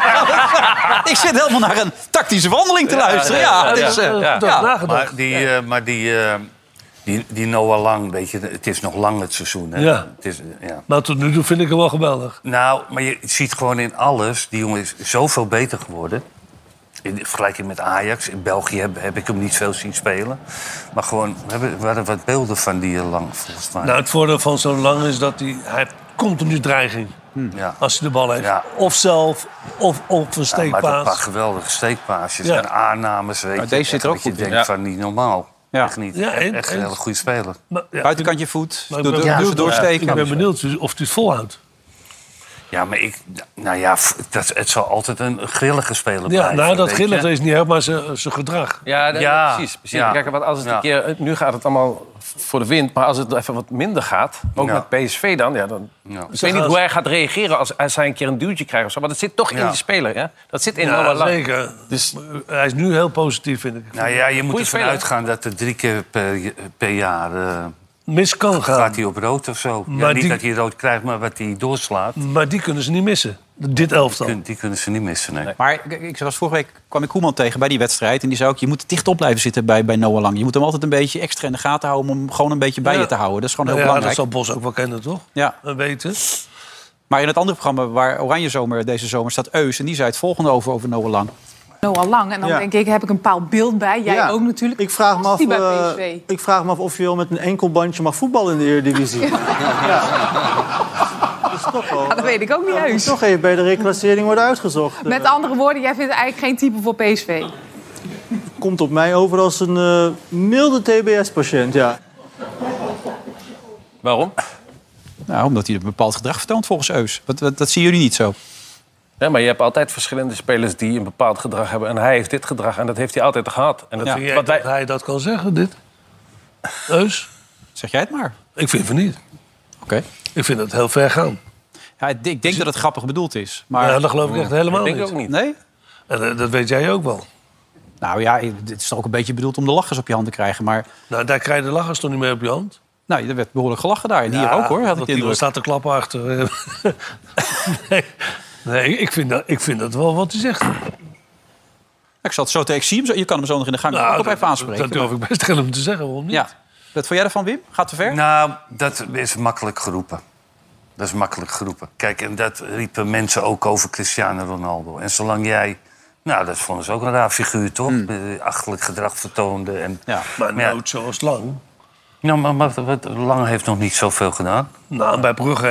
ik zit helemaal naar een tactische wandeling te luisteren. Ja, het is, eh, ja. Maar die, eh, maar die, eh, die, die Noah Lang, weet je, het is nog lang het seizoen. Hè? Ja. Het is, eh, ja. Maar Nou, tot nu toe vind ik hem wel geweldig. Nou, maar je ziet gewoon in alles, die jongen is zoveel beter geworden. In vergelijking met Ajax. In België heb, heb ik hem niet veel zien spelen. Maar gewoon, we, hebben, we hadden wat beelden van die eh, lang, volgens mij. Nou, het voordeel van zo'n lang is dat hij, hij heeft continu dreiging. Ja. Als hij de bal heeft. Ja. Of zelf, of op een Ja, maar een paar steekpaas. geweldige steekpaasjes Ja. en aannames. Weet Maar je, deze zit er Echt ook dat goed Je in. denkt Ja. van niet normaal. Ja. Echt niet. Ja, en- echt een en- hele goede speler. Maar, ja, Buitenkant je voet. maar ik Doe- ben doe- benieuwd- doorsteken. Ik ben benieuwd of hij het volhoudt. Ja, maar ik, nou ja, f- dat, het zal altijd een grillige speler Ja, blijven. nou, dat weet grillig je. is niet helemaal maar zijn zijn gedrag. Ja, dat- Ja. precies. precies. Ja. Kijk, want als het Ja. een keer, eh, nu gaat het allemaal voor de wind. Maar als het even wat minder gaat, ook Ja. met PSV dan... Ja, dan Ja. ik weet niet hoe hij gaat reageren als, als hij een keer een duwtje krijgt. Of zo, maar dat zit toch in Ja. die speler. Hè? Dat zit in Ja, alle lang. zeker. Hij is nu heel positief, vind ik. Dus- Nou ja, je moet Goeie ervan speler. uitgaan dat er drie keer per, j- per jaar eh, Mis kan gaan. gaat hij op rood of zo. Ja, Maar niet die- dat hij rood krijgt, maar wat hij doorslaat. Maar die kunnen ze niet missen. Dit elftal. kun- die kunnen ze niet missen. Nee. Maar ik, ik was vorige week kwam ik Koeman tegen bij die wedstrijd. En die zei ook, je moet dichtop blijven zitten bij, bij Noah Lang. Je moet hem altijd een beetje extra in de gaten houden... om hem gewoon een beetje bij Ja. je te houden. Dat is gewoon heel Nou ja, dat belangrijk. zal Bos ook wel kennen, toch? Ja. En weten. Maar in het andere programma waar Oranje Zomer deze zomer staat... Eus, en die zei het volgende over, over Noah Lang. Noah Lang. En dan Ja. denk ik, heb ik een bepaald beeld bij. Jij Ja. ook natuurlijk. Ik vraag, me Past af, die bij eh, PSV? ik vraag me af of je wel met een enkel bandje mag voetballen in de Eredivisie. Ja, dat weet ik ook niet Dat moet heus. eh, toch even bij de reclassering worden uitgezocht. Met Eh, andere woorden, jij vindt eigenlijk geen type voor PSV. komt op mij over als een eh, milde TBS-patiënt, ja. Waarom? Nou, omdat hij een bepaald gedrag vertoont volgens Eus. Wat- wat- dat zien jullie niet zo. Ja, maar je hebt altijd verschillende spelers die een bepaald gedrag hebben. En hij heeft dit gedrag en dat heeft hij altijd gehad. En dat Vind jij dat hij dat kan zeggen, dit? Eus? Zeg jij het maar. Ik vind van niet. Oké. Ik vind dat heel ver gaan. Ja, ik denk- ik denk dat het grappig bedoeld is. Maar... Dus- Ja, dat geloof ik echt helemaal denk ik niet. ook niet. Nee? En eh, dat weet jij ook wel. Nou ja, het is toch ook een beetje bedoeld om de lachers op je handen te krijgen. Maar Nou, daar krijg je de lachers toch niet mee op je hand? nou, er werd behoorlijk gelachen daar. En hier ook hoor, had ik dat de iemand indruk. staat te klappen achter. nee, nee ik, vind dat, ik vind dat wel wat hij zegt. Ik zat zo tegen, ik zie hem zo. Je kan hem zo nog in de gang ook op Nou, dat- even aanspreken. Dat durf ik best tegen hem te zeggen, waarom niet? Ja. Wat vond jij ervan, Wim? Gaat te ver? Nou, dat is makkelijk geroepen. Dat is makkelijk geroepen. Kijk, en dat riepen mensen ook over Cristiano Ronaldo. En zolang jij... Nou, dat vonden ze ook een raar figuur, toch? Eh, Achterlijk gedrag vertoonde. En, Ja. Maar Ja. nooit zoals lang. Nou, maar, maar wat- Lang heeft nog niet zoveel gedaan. Nou, bij Brugge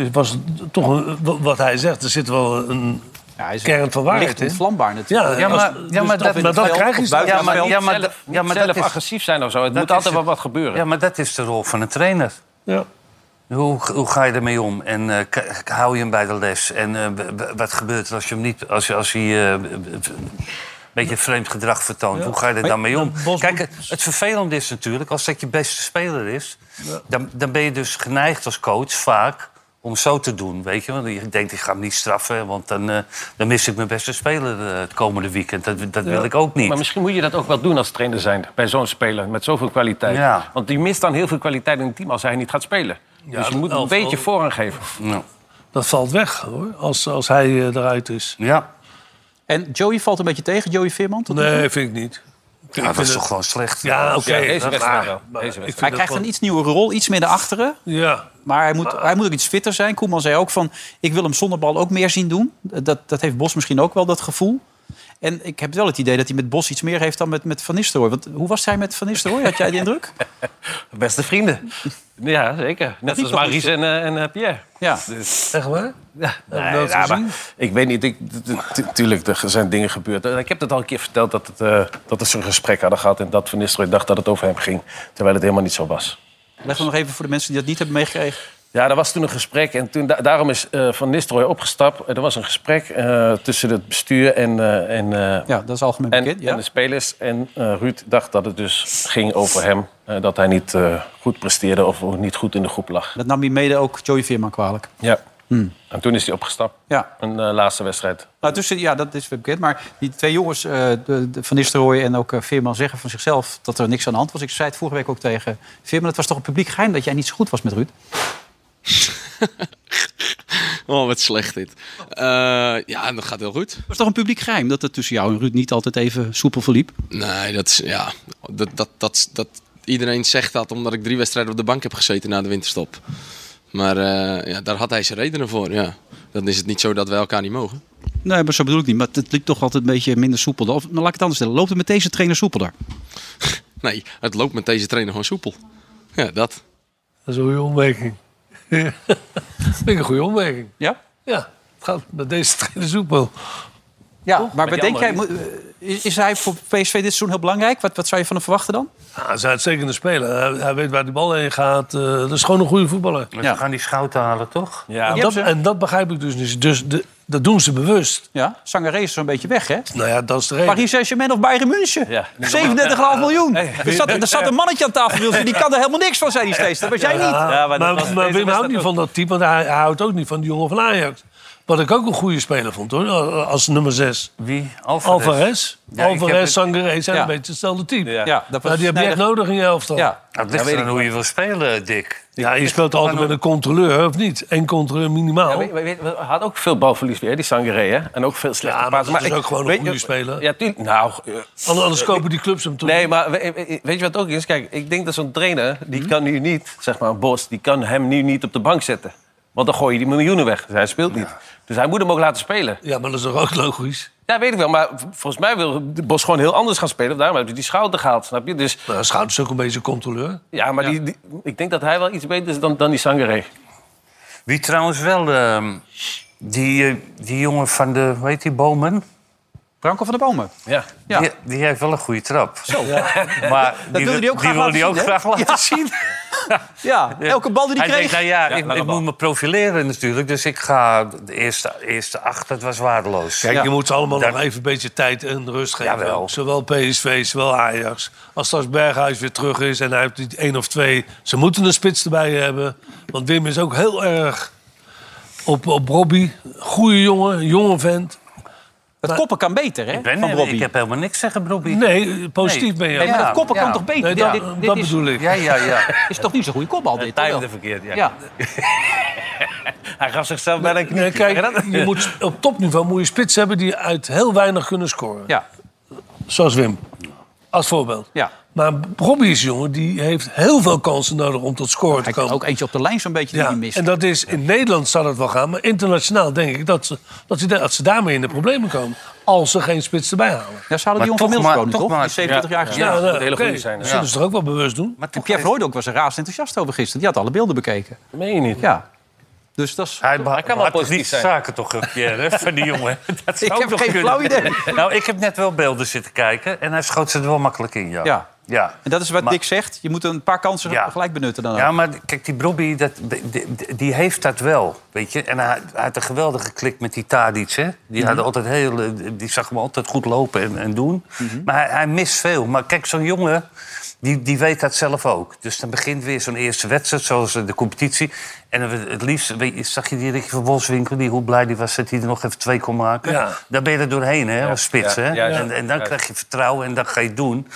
eh, was het toch een- wa- wat hij zegt. Er zit wel een hij is kern van waarheid licht in. ontvlambaar natuurlijk. Ja, maar- ja, maar dat- maar dat krijg je buiten Ja, maar- het ja, veld. maar, zelf, dat- ja, maar zelf dat is, agressief zijn of zo. Het dat moet altijd is- wel wat gebeuren. ja, maar dat is de rol van een trainer. Ja. Hoe, hoe ga je ermee om? En eh, k- hou je hem bij de les? En eh, w- w- wat gebeurt er als je hem niet... Als, je- als hij eh, b- b- een beetje vreemd gedrag vertoont. Hoe ga je er dan mee om? Kijk, het- het vervelende is natuurlijk... Als dat je beste speler is... Dan, dan ben je dus geneigd als coach vaak om zo te doen, weet je. Want je denkt, ik ga hem niet straffen... want dan, eh, dan mis ik mijn beste speler eh, het komende weekend. Dat, dat wil ik ook niet. Maar misschien moet je dat ook wel doen als trainer zijn bij zo'n speler met zoveel kwaliteit. Ja. Want die mist dan heel veel kwaliteit in het team als hij niet gaat spelen. dus je moet een elftal- beetje voorrang geven. Nou, Dat valt weg, hoor, als, als hij eh, eruit is. Ja, En Joey valt een beetje tegen, Joey Veerman? tot nu toe? Nee, vind ik niet. Ja, dat is toch gewoon slecht? Ja, oké. Ja, deze maar- wedstrijd wel. maar Deze ik vind Hij dat krijgt wel- Ah. een iets nieuwe rol, iets meer naar achteren. Ja, Maar hij moet, hij moet ook iets fitter zijn. Koeman zei ook van, ik wil hem zonder bal ook meer zien doen. Dat, dat heeft Bos misschien ook wel, dat gevoel. En ik heb wel het idee dat hij met Bos iets meer heeft dan met, met Van Nistelrooy. Want hoe was hij met Van Nistelrooy? Had jij de indruk? Beste vrienden. Ja, zeker. Net als toch Maries en, eh, en eh, Pierre. Dus- Ja. echt waar? Ja, we dat gezien? ik weet niet. Ik, t- t- tuurlijk, er zijn dingen gebeurd. Eh, Ik heb dat al een keer verteld dat, het, eh, dat ze een gesprek hadden gehad... en dat Van Nistelrooy dacht dat het over hem ging. Terwijl het helemaal niet zo was. Leg hem nog even voor de mensen die dat niet hebben meegekregen. Ja, er was toen een gesprek en toen, da- daarom is eh, Van Nistelrooy opgestapt. Er was een gesprek eh, tussen het bestuur en, eh, en, eh, Ja, dat is algemeen en, bekend. Ja. en de spelers. En eh, Ruud dacht dat het dus ging over hem. eh, dat hij niet eh, goed presteerde of niet goed in de groep lag. Dat nam hij mede ook Joey Veerman kwalijk. Ja. En toen is hij opgestapt. Ja. Een eh, laatste wedstrijd. Nou, tussen, ja, dat is weer bekend. Maar die twee jongens, eh, de- de Van Nistelrooy en ook eh, Veerman, zeggen van zichzelf dat er niks aan de hand was. Ik zei het vorige week ook tegen Veerman. Het was toch een publiek geheim dat jij niet zo goed was met Ruud? oh, wat slecht dit. Eh, ja, dat gaat heel goed. was toch een publiek geheim dat het tussen jou en Ruud niet altijd even soepel verliep? Nee, dat is, ja, dat, dat, dat, dat, iedereen zegt dat omdat ik drie wedstrijden op de bank heb gezeten na de winterstop. Maar eh, ja, daar had hij zijn redenen voor, ja. Dan is het niet zo dat wij elkaar niet mogen. Nee, maar zo bedoel ik niet. Maar het liep toch altijd een beetje minder soepel. Of nou, laat ik het anders stellen. Loopt het met deze trainer soepeler? Nee, het loopt met deze trainer gewoon soepel. Ja, dat. Dat is een goede opmerking. dat vind ik een goede opmerking. Ja? Ja, het gaat met deze trainer soepel. Ja, maar Met die denk jij, andere moet- eh, is, is hij voor PSV dit seizoen heel belangrijk? Wat, wat zou je van hem verwachten dan? Ja, hij is een uitstekende speler. Hij, hij weet waar die bal heen gaat. Eh, dat is gewoon een goede voetballer. Maar Ze gaan die schouten halen, toch? en, dat, en dat begrijp ik dus niet. Dus de- dat doen ze bewust. Ja, Sangaré is zo'n beetje weg, hè? Nou ja, dat is de reden. Paris Saint-Germain of Bayern München? Ja. 37,5 miljoen. Er zat, er zat een mannetje aan tafel, Wilson, die kan er helemaal niks van, zei hij steeds. Dat was jij niet. Ja, maar maar, Wim houdt niet van dat type, want hij, hij houdt ook niet van die jongen van Ajax. Wat ik ook een goede speler vond, hoor, als nummer 6. Wie? Alvarez. Alvarez, Ja, ik heb het- Sangaré zijn Ja. een beetje hetzelfde type. Ja. Nou, Ja, die dat was heb je echt snijdig. nodig in je elftal. Ja, dat ligt eraan hoe je wil spelen, Dick. Ja, je speelt altijd met een controleur, of niet? Eén controleur minimaal. Ja, maar je weet- we had ook veel balverlies weer, die Sangaré. hè? En ook veel slechte ja, dat is ook gewoon een goede speler. Ja, tuurlijk. Nou, eh, Anders eh, kopen die clubs hem toe. Nee, maar we- we- weet je wat ook is? Kijk, ik denk dat zo'n trainer, die Mhm. kan nu niet, zeg maar, Bos, die kan hem nu niet op de bank zetten. Want dan gooi je die miljoenen weg. Dus hij speelt niet. Dus hij moet hem ook laten spelen. Ja, maar dat is toch ook logisch? Ja, weet ik wel. Maar v- volgens mij wil de Bos gewoon heel anders gaan spelen. Daarom heb je die schouder gehaald, snap je? Dus, nou, schouder is ook een beetje een controleur. Ja, maar Die, die- ik denk dat hij wel iets beter is dan, dan die Sangaré. Wie trouwens wel, ehm, die, eh, die jongen van de, hoe heet die, Bomen? Branko van de Bomen. Ja. Ja. Die, die heeft wel een goede trap. Zo. Maar Dat die, wilde wil die die ook graag wil laten die zien, ook hè? graag laten Ja. zien. Ja, elke bal die hij hij kreeg. denkt, nou ja, ik, lange ik bal. moet me profileren natuurlijk. Dus ik ga de eerste, eerste acht, dat was waardeloos. Kijk, je moet ze allemaal Dat- nog even een beetje tijd en rust geven. Zowel PSV, zowel Ajax. Als straks Berghuis weer terug is en hij heeft die één of twee... Ze moeten een spits erbij hebben. Want Wim is ook heel erg op, op Robbie. Goeie jongen, jonge vent. Het koppen kan beter, hè? Ik, ben, van Robbie. ik heb helemaal niks zeggen, Robbie. Nee, positief ben je. Nee, maar Ja. dat koppen kan Ja. toch beter? Nee, Dit- dat- dit- dit dat is- bedoel ik. Ja, ja, ja. is toch niet zo'n goede kopbal, dit? Hij of de wel? verkeerd, ja. Ja. Hij gaf zichzelf bijna een knietje. Kijk, je moet, op topniveau moet je spits hebben die uit heel weinig kunnen scoren. Zoals Wim. Als voorbeeld. Ja. Maar Robbie is een jongen, die heeft heel veel kansen nodig om tot scoren te komen. Ook eentje op de lijn zo'n beetje die Ja, hij mist. en dat is, in Nederland zal het wel gaan, maar internationaal denk ik dat ze, dat, ze, da- dat ze daarmee in de problemen komen. Als ze geen spits erbij halen. Ja, ze hadden die jongen van Middelsbroon, toch? Die is 70 jaar gespeeld. Ja, Dat moet hele goede zijn. Dat zullen ze toch ook wel bewust doen? Maar en Pierre Roydonk was er raast enthousiast over gisteren. Die had alle beelden bekeken. Meen je niet? Ja. Dus dat is... Hij, kan wel positief zijn. zaken toch, eh, Pierre, hè, van die jongen. Dat zou Ik heb toch geen kunnen. flauw idee. Nou, ik heb net wel beelden zitten kijken en hij schoot ze er wel makkelijk in, ja. Ja. ja. En dat is wat Maar- Dick zegt. Je moet een paar kansen Ja. gelijk benutten dan ook. Ja, maar kijk, die Brobby, dat, die, die- die heeft dat wel, weet je. En hij, hij had een geweldige klik met die Tadic, hè. Die, Mhm. hadden altijd heel, eh, die zag hem altijd goed lopen en, en doen. Mhm. Maar hij, hij mist veel. Maar kijk, zo'n jongen, die, die weet dat zelf ook. Dus dan begint weer zo'n eerste wedstrijd, zoals eh, de competitie. En dan het liefst, weet je, zag je die Ricky van Wolfswinkel... Die, hoe blij die was dat hij er nog even twee kon maken. Ja. Daar ben je er doorheen, hè, als spits, ja, hè. ja, ja. En, en dan Ja. krijg je vertrouwen en dan ga je het doen.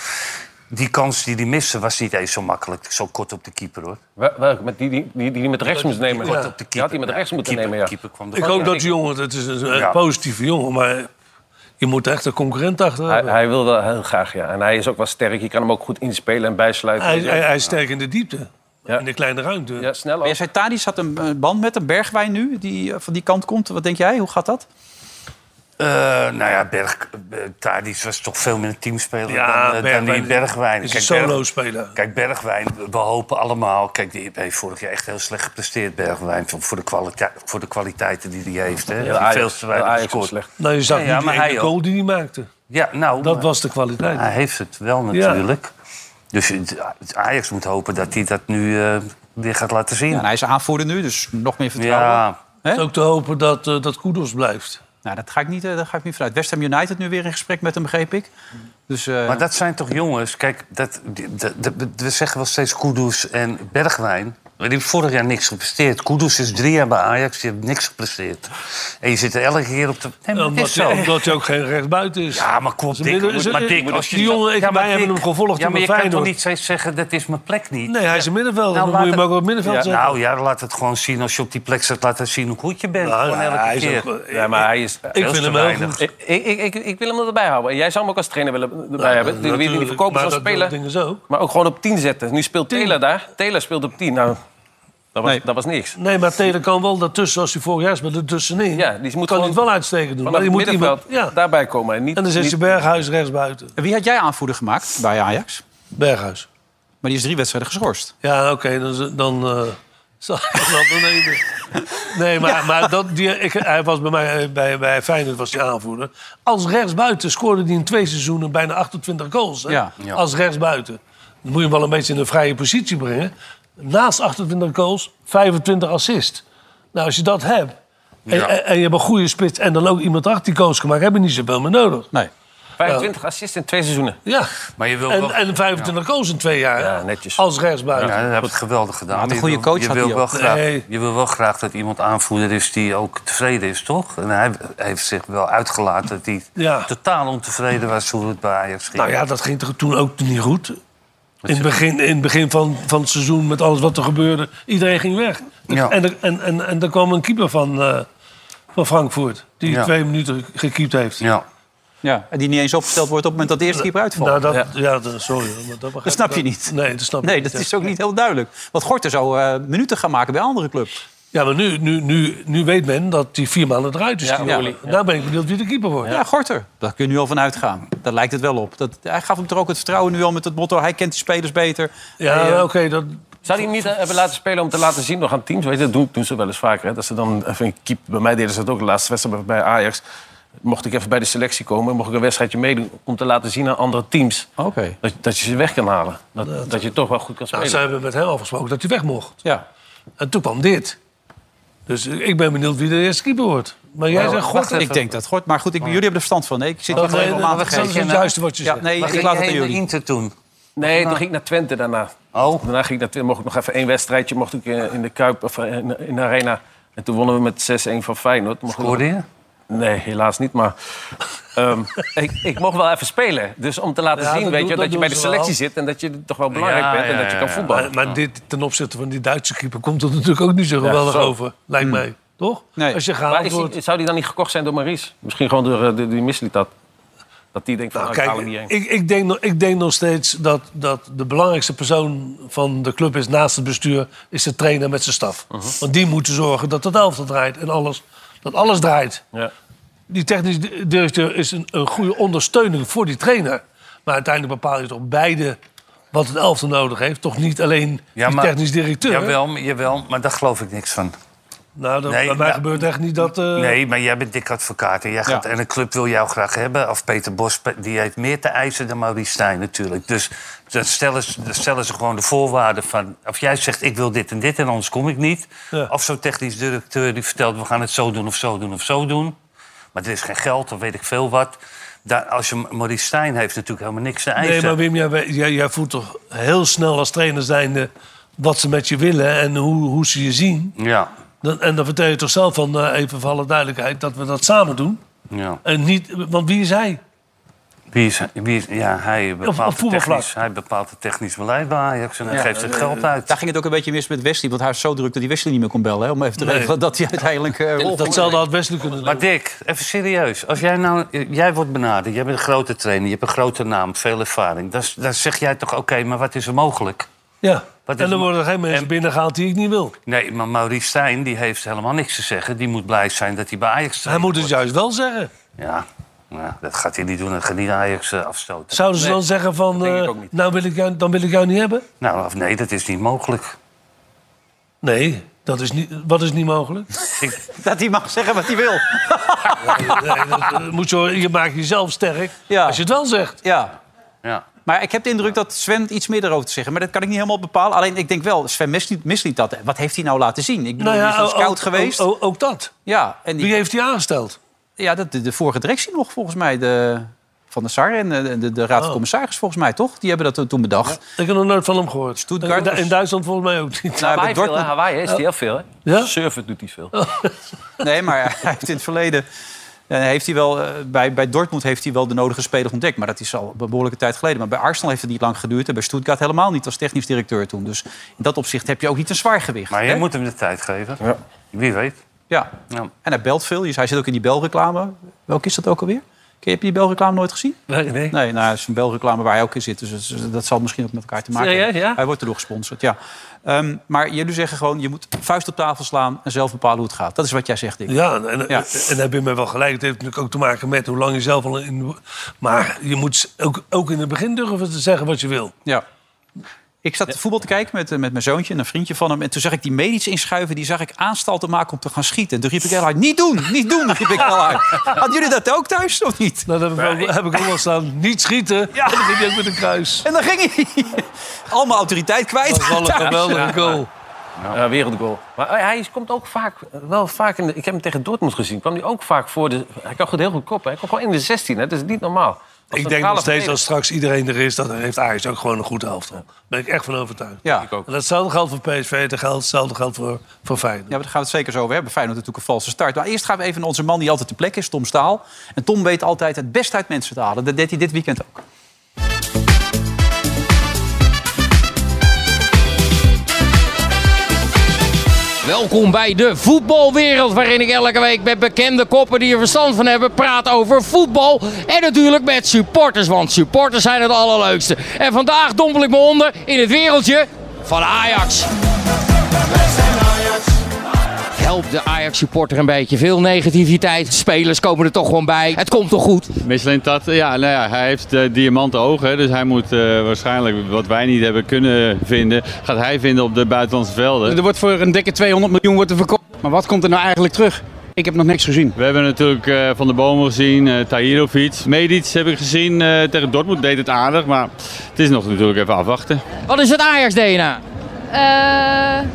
Die kans die die missen was niet eens zo makkelijk. Zo kort op de keeper, hoor. Wel- wel, met die, die, die, die met rechts moest nemen. Kort Ja. op de Die had hij met rechts moeten nemen, ja. keeper kwam Ik hoop dat die jongen, het is een een Ja. positieve jongen, maar je moet er echt een concurrent achter Hij, hebben. hij wil wel heel graag, ja. En hij is ook wel sterk. Je kan hem ook goed inspelen en bijsluiten. Hij, hij, hij is sterk in de diepte, Ja. in de kleine ruimte. Ja, snel Maar jij zei, Tadis had een eh, band met een Bergwijn nu, die eh, van die kant komt. Wat denk jij? Hoe gaat dat? Eh, nou ja, Berg, eh, Tadic was toch veel meer een teamspeler Ja, dan, eh, dan Bergwijn die Bergwijn. is Kijk, een Berg- solo-speler. Kijk, Bergwijn, we hopen allemaal... Kijk, die heeft vorig jaar echt heel slecht gepresteerd, Bergwijn. Voor, voor, de, kwalita- voor de kwaliteiten die hij heeft. Hè. Ja, Die Ajax- veel te weinig Ajax is gescoord. slecht. Nou, je zag Ja, ja, niet maar die hij ene ook. goal die hij maakte. Ja, nou, Dat maar- was de kwaliteit. Hij heeft het wel natuurlijk. Dus het Ajax moet hopen dat hij dat nu eh, weer gaat laten zien. Ja, en Nou, hij is aanvoerder nu, dus nog meer vertrouwen. Ja. Het is ook te hopen dat, eh, dat Kudos blijft. Nou, dat ga ik niet, eh, daar ga ik niet vanuit. West Ham United nu weer in gesprek met hem, begreep ik. Dus, eh, Maar dat zijn toch jongens... Kijk, dat, die- dat- dat- we zeggen wel steeds Kudus en Bergwijn. Maar die heeft vorig jaar niks gepresteerd. Kudus is drie jaar bij Ajax, die heeft niks gepresteerd. En je zit er elke keer op de... Nee, maar het Omdat is zo. hij- omdat hij ook geen rechtsbuiten is. Ja, maar klopt. Zijn midden- zijn- die jongen, ik, wij hebben hem gevolgd Ja, maar in je kan toch Feyenoord. niet steeds zeggen, dat is mijn plek niet? Nou, Nee, hij is een middenvelder. dan moet je laat hem ook op het middenveld ja, zetten. Nou ja, laat het gewoon zien. Als je op die plek zit, laat het zien hoe goed je bent. Nou, Gewoon ja, elke hij is keer. ook- Ja, maar hij is eh, Ik vind hem heel goed. Ik, ik, ik, ik wil hem erbij houden. En jij zou hem ook als trainer willen erbij hebben. Die, die, die Nou, natuurlijk, verkopen maar zo'n dat speler. doen dingen zo. Maar ook gewoon op 10 zetten. Nu speelt Taylor daar. Taylor speelt op 10. Nou, dat was, dat was niks. Nee, maar Taylor kan wel daartussen, als hij vorig jaar is, maar ertussenin. Ja, die moet kan hij het wel uitstekend doen. Vanaf Maar die het moet iemand, middenveld daarbij komen. En, niet, en dan zit niet- je Berghuis rechtsbuiten. En Wie had jij aanvoerder gemaakt bij Ajax? Berghuis. Maar die is drie wedstrijden geschorst. Ja, oké, dan... dan eh, zal ik dat wel beneden. Nee, maar, maar dat, die, ik, hij was bij, mij, eh, bij, bij Feyenoord was hij aanvoerder. Als rechtsbuiten scoorde hij in twee seizoenen bijna 28 goals. Hè? Ja. Ja. Als rechtsbuiten. Dan moet je hem wel een beetje in een vrije positie brengen. Naast 28 goals, 25 assist. Nou, als je dat hebt... En, Ja. en, en je hebt een goede spits en dan ook iemand achter die goals gemaakt... heb je niet zoveel meer nodig. Nee. 25 assists in twee seizoenen. Ja, Maar je wil en, wel- en 25 goals in twee jaar. Ja, netjes. Als rechtsbuiten. Ja, dat hebben het geweldig gedaan. had een Je goede wil- coach je had wil hij wel ook. graag, Nee. Je wil wel graag dat iemand aanvoerder is die ook tevreden is, toch? En hij hij heeft zich wel uitgelaten dat hij Ja. totaal ontevreden was hoe het bij Ajax ging. Nou ja, dat ging toch toen ook niet goed. In het begin, in het begin van, van het seizoen, met alles wat er gebeurde, iedereen ging weg. Ja. En, er, en, en, en er kwam een keeper van, eh, van Frankfurt, die Ja. twee minuten gekiept heeft. Ja. Ja, en die niet eens opgesteld wordt op het moment dat de eerste keeper uitvalt. Nou, dat, ja. dat, sorry. hoor, Maar dat, begrijp ik Dat snap je wel. niet. Nee, dat snap ik Nee, niet, dat ja. is ook niet heel duidelijk. Want Gorter zou eh, minuten gaan maken bij een andere club. Ja, maar nu, nu, nu, nu weet men dat die vier maanden eruit is. Ja, die ja. Olly. Daar ben ik benieuwd wie de keeper wordt. Ja, Gorter. Daar kun je nu al van uitgaan. Daar lijkt het wel op. Dat, hij gaf hem er ook het vertrouwen nu al met het motto... hij kent die spelers beter. Ja, Hij, eh, oké. dat... nou, Zou die hem niet eh, hebben laten spelen om te laten zien nog aan teams? Weet je, dat doen, doen ze wel eens vaker. Hè? Dat ze dan even een keep. Bij mij deden ze dat ook de laatste wedstrijd bij Ajax. Mocht ik even bij de selectie komen, mocht ik een wedstrijdje meedoen om te laten zien aan andere teams eh, Oké. dat, dat je ze weg kan halen. Dat, dat, je toch wel goed kan Nou, spelen. ze hebben met hem afgesproken dat hij weg mocht. Ja. En toen kwam dit. Dus eh, ik ben benieuwd wie de eerste keeper wordt. Maar jij zegt Wacht Gorter. even. Ik denk dat Gorter... Maar goed, ik, jullie hebben er verstand van. Nee, ik zit Oh, hier nee, gewoon even om dat- aan te dat is geven. het juiste wat je ja, zegt. Nee, Maar ik ging laat het jij aan naar jullie. Inter toen. Nee, toen ging ik naar Twente daarna. Oh. Daarna ging ik naar Twente, mocht ik nog even één wedstrijdje mocht ik eh, in de Kuip of eh, in, in de Arena. En toen wonnen we met 6-1 van Feyenoord. Mocht ik- Scoorde je? Nee, helaas niet, maar ehm, ik, ik mocht wel even spelen. Dus om te laten Ja, zien dat, dat doen- weet je, dat dat, je bij de doen ze selectie wel. zit en dat je toch wel belangrijk bent en dat je kan voetballen. Maar, maar dit ten opzichte van die Duitse keeper komt er natuurlijk ook niet zo geweldig zo. Hmm. over, lijkt mij. Toch? Als je maar gehaald is wordt. die, zou die dan niet gekocht zijn door Maries? Misschien gewoon door eh, die, die misliet dat. Dat die denkt van, nou, ik haal Kijk, hem niet heen. ik, ik, denk, nog- ik denk nog steeds dat, dat de belangrijkste persoon van de club is naast het bestuur, is de trainer met zijn staf. Uh-huh. Want die moeten zorgen dat het elftal draait en alles, dat alles draait. Ja. Die technisch di- directeur is een, een goede ondersteuning voor die trainer. Maar uiteindelijk bepaal je toch beide wat het elftal nodig heeft. Toch niet alleen die technisch directeur. Jawel, maar- jawel, maar daar geloof ik niks van. Nou, dat, Nee, bij mij ja. gebeurt echt niet dat... eh, Nee, maar jij bent dik advocaat en, jij gaat, en een club wil jou graag hebben. Of Peter Bos, pe- die heeft meer te eisen dan Maurice Stijn natuurlijk. Dus dan stellen, ze, dan stellen ze gewoon de voorwaarden van... of jij zegt ik wil dit en dit en anders kom ik niet. Of zo'n technisch directeur die vertelt we gaan het zo doen of zo doen of zo doen. Maar er is geen geld of weet ik veel wat. Daar, als je Maurice Stijn heeft natuurlijk helemaal niks te eisen. Nee, maar Wim, jij, we- jij, jij voelt toch heel snel als trainer zijnde wat ze met je willen en hoe, hoe ze je zien. Ja, Dan, en dan vertel je toch zelf van, eh, even voor alle duidelijkheid, dat we dat samen doen. ja. En niet, want wie is hij? Wie is, wie is- ja, hij, bepaalt het voetbalvlak. technisch, hij bepaalt het technisch beleid bij Ajax en hij Ja. geeft het geld uit. Daar ging het ook een beetje mis met Wesley. Want hij was zo druk dat hij Wesley niet meer kon bellen. Hè, om even te Nee. regelen dat hij uiteindelijk... eh, rol- Datzelfde had Wesley kunnen doen. Maar Dick, even serieus. Als jij nou, jij wordt benaderd, jij bent een grote trainer, je hebt een grote naam, veel ervaring. Dan, dan zeg jij toch, oké, maar wat is er mogelijk? Ja, Wat is en dan worden er geen mensen binnengehaald die ik niet wil. Nee, maar Maurice Stijn, die heeft helemaal niks te zeggen. Die moet blij zijn dat hij bij Ajax staat. Hij moet het juist wel zeggen. Ja, ja, dat gaat hij niet doen. Dat gaat niet Ajax eh, afstoten. Zouden ze dan zeggen van, eh, nou wil ik jou, dan wil ik jou niet hebben? Nou, of nee, dat is niet mogelijk. Nee, dat is niet, wat is niet mogelijk? Dat hij mag zeggen wat hij wil. nee, dat, eh, moet je, je maakt jezelf sterk als je het wel zegt. Ja. ja. Maar ik heb de indruk dat Sven iets meer erover te zeggen. Maar dat kan ik niet helemaal bepalen. Alleen ik denk wel, Sven misliet, misliet dat. Wat heeft hij nou laten zien? Ik bedoel, Nou ja, die is een scout ook, geweest. Ook, ook, ook dat. Ja, en die, Wie heeft hij aangesteld? ja dat, de, de vorige directie nog, volgens mij. De, Van der Sar en eh, de, de, de Raad van Oh. Commissaris, volgens mij, toch? Die hebben dat toen- toen bedacht. Ik heb nog nooit van hem gehoord. Stuttgart In Du- was- in Duitsland volgens mij ook niet. Nou, bij Dortmund- veel, hè? Ja? Surfen doet hij veel. Nee, maar hij heeft in het verleden... eh, heeft hij wel, eh, bij, bij Dortmund heeft hij wel de nodige spelers ontdekt. Maar dat is al een behoorlijke tijd geleden. Maar bij Arsenal heeft het niet lang geduurd. En bij Stuttgart helemaal niet als technisch directeur toen. Dus in dat opzicht heb je ook niet een zwaar gewicht. Maar je hè? moet hem de tijd geven. Wie weet. Ja. En hij belt veel. Dus hij zit ook in die belreclame. Welke is dat ook alweer? Ken- Heb je die belreclame nooit gezien? Nee, nee. Nee, nou, het is een belreclame waar hij ook in zit. Dus het- dat zal misschien ook met elkaar te maken Serieus, hebben. ja? Hij wordt erdoor gesponsord, ja. Ehm, maar jullie zeggen gewoon, je moet vuist op tafel slaan... en zelf bepalen hoe het gaat. Dat is wat jij zegt, Dick. Ja, en, en, en heb je mij wel gelijk. Het heeft natuurlijk ook te maken met hoe lang je zelf al in... Maar je moet ook, ook in het begin durven te zeggen wat je wil. Ja. Ik zat voetbal te kijken met, eh, met mijn zoontje en een vriendje van hem. En toen zag ik die medisch inschuiven. Die zag ik aanstalten maken om te gaan schieten. En toen riep ik heel hard, niet doen, niet doen, riep ik heel hard. Hadden jullie dat ook thuis of niet? Nou, dat heb ik, wel, heb ik ook wel staan. Niet schieten. Ja. En dan ging hij ook met een kruis. En dan ging hij allemaal autoriteit kwijt. Dat was wel een Thuis. geweldige goal. Eh, Ja, wereldgoal. Maar hij hij komt ook vaak, wel vaak in de, ik heb hem tegen Dortmund gezien, kwam hij ook vaak voor de... Hij kan goed heel goed koppen, hij kwam gewoon in de 16, hè. dat is niet normaal. Als Ik denk centrale nog steeds dat verdediger. straks iedereen er is, dat heeft Ajax ook gewoon een goede helft. Daar ben ik echt van overtuigd. Ja. En datzelfde geldt voor PSV, dat geldt- hetzelfde geldt voor, voor Feyenoord. Ja, maar daar gaan we het zeker zo over hebben. Feyenoord natuurlijk een valse start. Maar eerst gaan we even naar onze man die altijd de plek is, Tom Staal. En Tom weet altijd het beste uit mensen te halen. Dat deed hij dit weekend ook. Welkom bij de voetbalwereld, waarin ik elke week met bekende koppen die er verstand van hebben praat over voetbal. En natuurlijk met supporters, want supporters zijn het allerleukste. En vandaag dompel ik me onder in het wereldje van Ajax. Helpt de Ajax-supporter een beetje. Veel negativiteit. Spelers komen er toch gewoon bij. Het komt toch goed. Michelin Tat, ja, nou ja, hij heeft eh, diamanten ogen. hè, Dus hij moet eh, waarschijnlijk wat wij niet hebben kunnen vinden, gaat hij vinden op de buitenlandse velden. Er wordt voor een dikke 200 miljoen wordt er verkocht. Maar wat komt er nou eigenlijk terug? Ik heb nog niks gezien. We hebben natuurlijk eh, Van der Bomen gezien, eh Tahirovic. Medic heb ik gezien eh, tegen Dortmund, deed het aardig. Maar het is nog natuurlijk even afwachten. Wat is het Ajax-DNA? Eh,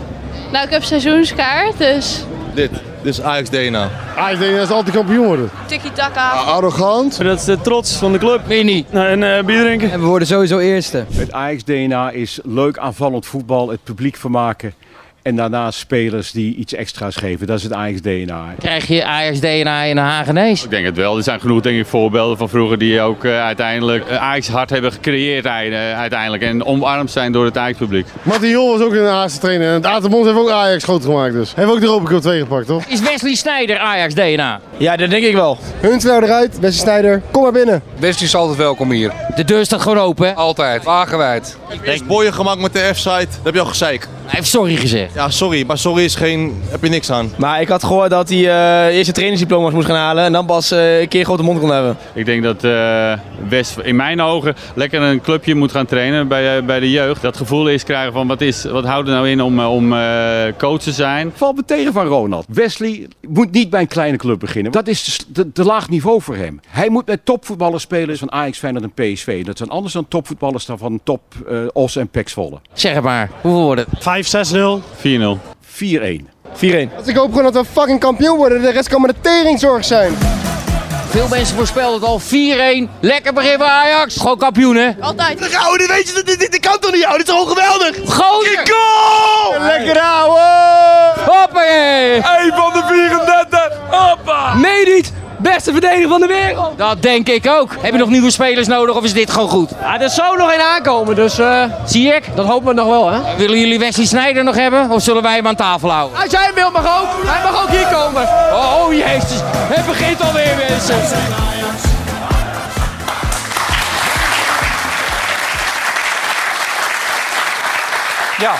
nou, ik heb seizoenskaart, dus Dit, dit is Ajax DNA. Ajax DNA is altijd kampioen worden. tiki-taka. Arrogant. Dat is de trots van de club. Meer niet. En bier drinken. En we worden sowieso eerste. Het Ajax-DNA is leuk aanvallend voetbal, het publiek vermaken. En daarna spelers die iets extra's geven. Dat is het Ajax-DNA. Krijg je Ajax-DNA in de Hagenees? Ik denk het wel. Er zijn genoeg denk ik, voorbeelden van vroeger die ook eh, uiteindelijk eh, Ajax hard hebben gecreëerd eh, uiteindelijk. En omarmd zijn door het Ajax-publiek. Martin Jol was ook een Haagse trainer. En het Atenbond heeft ook Ajax groot gemaakt dus. Hebben ook de Europa Cup 2 gepakt, toch? Is Wesley Sneijder Ajax-DNA? Ja, dat denk ik wel. Huntelaar eruit, Wesley Sneijder, kom maar binnen. Wesley is altijd welkom hier. De deur staat gewoon open. Altijd, wagenwijd. Denk boeien gemaakt met de F-site. Dat heb je al gezeik. Hij heeft sorry gezegd. Ja, sorry. Maar sorry is geen... heb je niks aan. Maar ik had gehoord dat hij eh, eerst zijn trainersdiploma's moest gaan halen en dan pas eh, een keer grote mond kon hebben. Ik denk dat eh West in mijn ogen lekker een clubje moet gaan trainen bij, eh, bij de jeugd. Dat gevoel is krijgen van wat, is, wat houdt er nou in om, eh, om eh, coach te zijn. Valt me tegen van Ronald. Wesley moet niet bij een kleine club beginnen. Dat is te s- te, te laag niveau voor hem. Hij moet met topvoetballers spelen van Ajax, Feyenoord en PSV. Dat zijn anders dan topvoetballers dan van top eh, Os en Pek Zwolle. Zeg het maar, hoeveel wordt het? 5-6-0. 4-1. 4-1. Dus ik hoop gewoon dat we fucking kampioen worden. De rest kan maar de teringzorg zijn. Veel mensen voorspelden het al 4-1. Lekker begin van Ajax. Gewoon kampioen, hè? Altijd. Gouden, weet je, dit, dit, kan toch niet, ouwe? Dit is gewoon geweldig. Gouden. Goal! Lekker, ouwe. Hoppakee. Eén van de 34. Hoppa. Mediet, beste verdediger van de wereld. Dat denk ik ook. Heb je nog nieuwe spelers nodig of is dit gewoon goed? Ja, er zou nog één aankomen, dus zie ik. Dat hopen we nog wel, hè? Willen jullie Wesley Sneijder nog hebben of zullen wij hem aan tafel houden? Als jij wil, mag ook. Hij mag ook hier komen. Oh, oh jezus, het begint alweer mensen. Ja,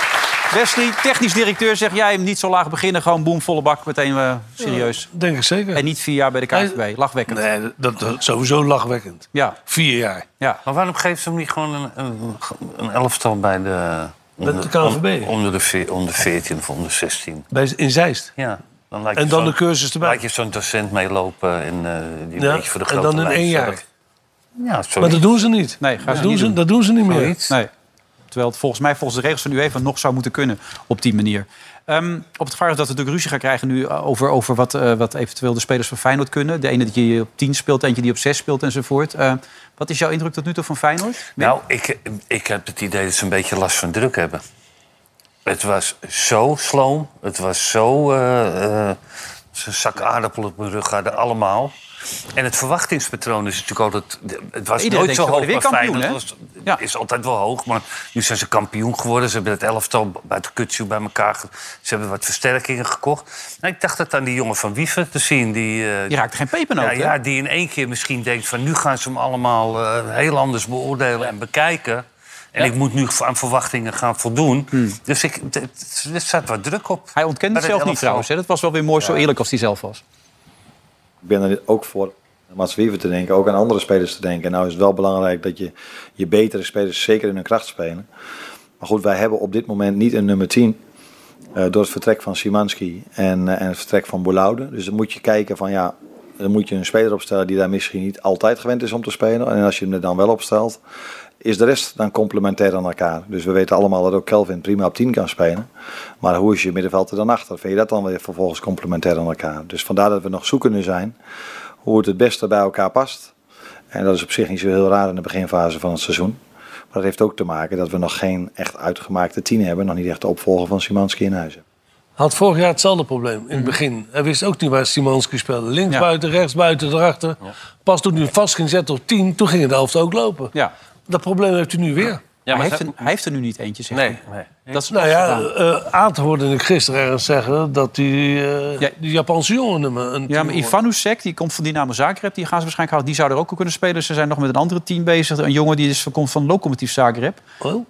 Wesley, technisch directeur, zeg jij hem niet zo laag beginnen. Gewoon boem, volle bak, meteen eh, serieus. denk ik zeker. En niet vier jaar bij de KNVB. Lachwekkend. Nee, dat, dat is sowieso lachwekkend. Ja. Vier jaar. Ja. Maar waarom geeft ze hem niet gewoon een, een, een elftal bij de... Met de KNVB? on- Onder de, veer- onder 14 of onder 16. Bij, in Zeist? Ja. Dan lijkt En je dan zo'n- de cursus erbij. Lijkt je zo'n docent meelopen en eh, die Ja, een beetje voor de en grote dan in lijst één jaar. zorgt. Ja, sorry. Maar dat doen ze niet. Nee, gaan dat ze doen niet ze, doen. Dat doen ze niet meer. Nee. Terwijl het volgens mij volgens de regels van de UEFA nog zou moeten kunnen op die manier. Ehm, op het gevaar dat we natuurlijk ruzie gaan krijgen nu over, over wat, eh, wat eventueel de spelers van Feyenoord kunnen. De ene die op 10 speelt, eentje die op 6 speelt enzovoort. Eh, wat is jouw indruk tot nu toe van Feyenoord? Nou, ik, ik heb het idee dat ze een beetje last van druk hebben. Het was zo sloom. Het was zo... eh, eh, ze een zak aardappelen op hun rug hadden, allemaal. En het verwachtingspatroon is natuurlijk altijd... Het was Iedereen nooit denkt, zo ze hoog worden weer bij kampioen, Feyenoord. hè? Het was- is altijd wel hoog, maar nu zijn ze kampioen geworden. Ze hebben het elftal bij de kutsu bij elkaar... ge- Ze hebben wat versterkingen gekocht. Nou, ik dacht dat aan die jongen van Wieven te zien. Die, eh, Je raakt geen pepernoot, ja, hè? ja, die in één keer misschien denkt van nu gaan ze hem allemaal eh, heel anders beoordelen en bekijken. En ik moet nu aan verwachtingen gaan voldoen. Dus ik, het- het- er staat wat druk op. Hij ontkent Maar het dat zelf niet elftal- trouwens. Hè? Dat was wel weer mooi zo eerlijk als hij zelf was. Ik ben er ook voor aan Mats Wiever te denken, ook aan andere spelers te denken. Nou is het wel belangrijk dat je je betere spelers zeker in hun kracht spelen. Maar goed, wij hebben op dit moment niet een nummer 10. eh, door het vertrek van Simanski en, eh, en het vertrek van Boulaude. Dus dan moet je kijken van ja, dan moet je een speler opstellen die daar misschien niet altijd gewend is om te spelen. En als je hem er dan wel opstelt, is de rest dan complementair aan elkaar. Dus we weten allemaal dat ook Kelvin prima op 10 kan spelen. Maar hoe is je middenveld er dan achter? Vind je dat dan weer vervolgens complementair aan elkaar? Dus vandaar dat we nog zoekende zijn hoe het het beste bij elkaar past. En dat is op zich niet zo heel raar in de beginfase van het seizoen. Maar dat heeft ook te maken dat we nog geen echt uitgemaakte tien hebben. Nog niet echt de opvolger van Simanski in huis. Had vorig jaar hetzelfde probleem in het begin. Hij wist ook niet waar Simanski speelde. Links buiten, rechts buiten, erachter. Pas toen hij hem vast ging zetten op 10, toen ging het helft ook lopen. Ja. Dat probleem heeft hij nu weer. maar hij, heeft er, hij heeft er nu niet eentje, zeg nee, Dat is Nou ja, afgedaan. eh Aad hoorde ik gisteren ergens zeggen dat die, eh, die Japanse jongen hem een Ja, maar team- Ivanusek, die komt van Dynamo Zagreb. Die gaan ze waarschijnlijk houden. Die zou er ook al kunnen spelen. Ze zijn nog met een andere team bezig. Een jongen die is, komt van Lokomotiv Zagreb.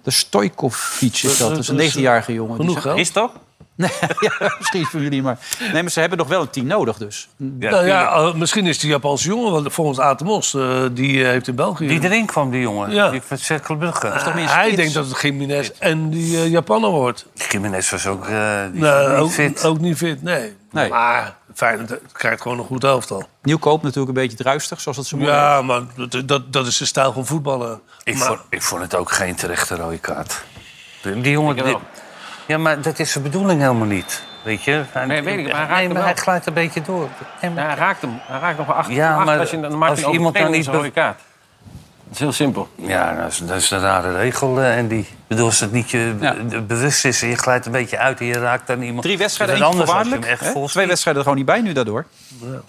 De Stojkovic is dat. Dat is een 19-jarige jongen. Die Genoeg zijn- geld. Is dat? Nee, ja, misschien voor jullie, maar... Nee, maar ze hebben nog wel een team nodig dus. nou ja, eh, misschien is die Japanse jongen, want volgens Aad de Mos, eh, die eh, heeft in België... Die erin kwam, die jongen. Ja. Die van Cercle Brugge. Ah, Ah, Hij denkt dat het Jiménez en die eh, Japaner wordt. Jiménez was ook eh, die Nee, was niet ook, fit. ook niet fit, nee. Nee. Maar Feyenoord krijgt gewoon een goed elftal. Nieuwkoop natuurlijk een beetje druistig, zoals dat ze mooi Ja, maar dat, dat, dat is de stijl van voetballen. Ik, maar, vond, ik vond het ook geen terechte rode kaart. Die die jongen... die- ja, maar dat is zijn bedoeling helemaal niet. Weet je? Hij- Nee, weet ik, maar hij raakt Nee, hem maar wel. hij glijdt een beetje door. Ja, hij raakt hem. Hij raakt nog wel achter. Ja, achter maar als, je, dan maakt als hij een iemand overtreding, nou niet is een rode kaart. Dat is heel simpel. Ja, dat is, dat is een rare regel. eh, En die, ik bedoel, als het niet je be- bewust is en je glijdt een beetje uit en je raakt dan iemand. Drie wedstrijden, Het is één anders als je voorwaardelijk. hem echt hè? volgt. Twee wedstrijden er gewoon niet bij nu daardoor.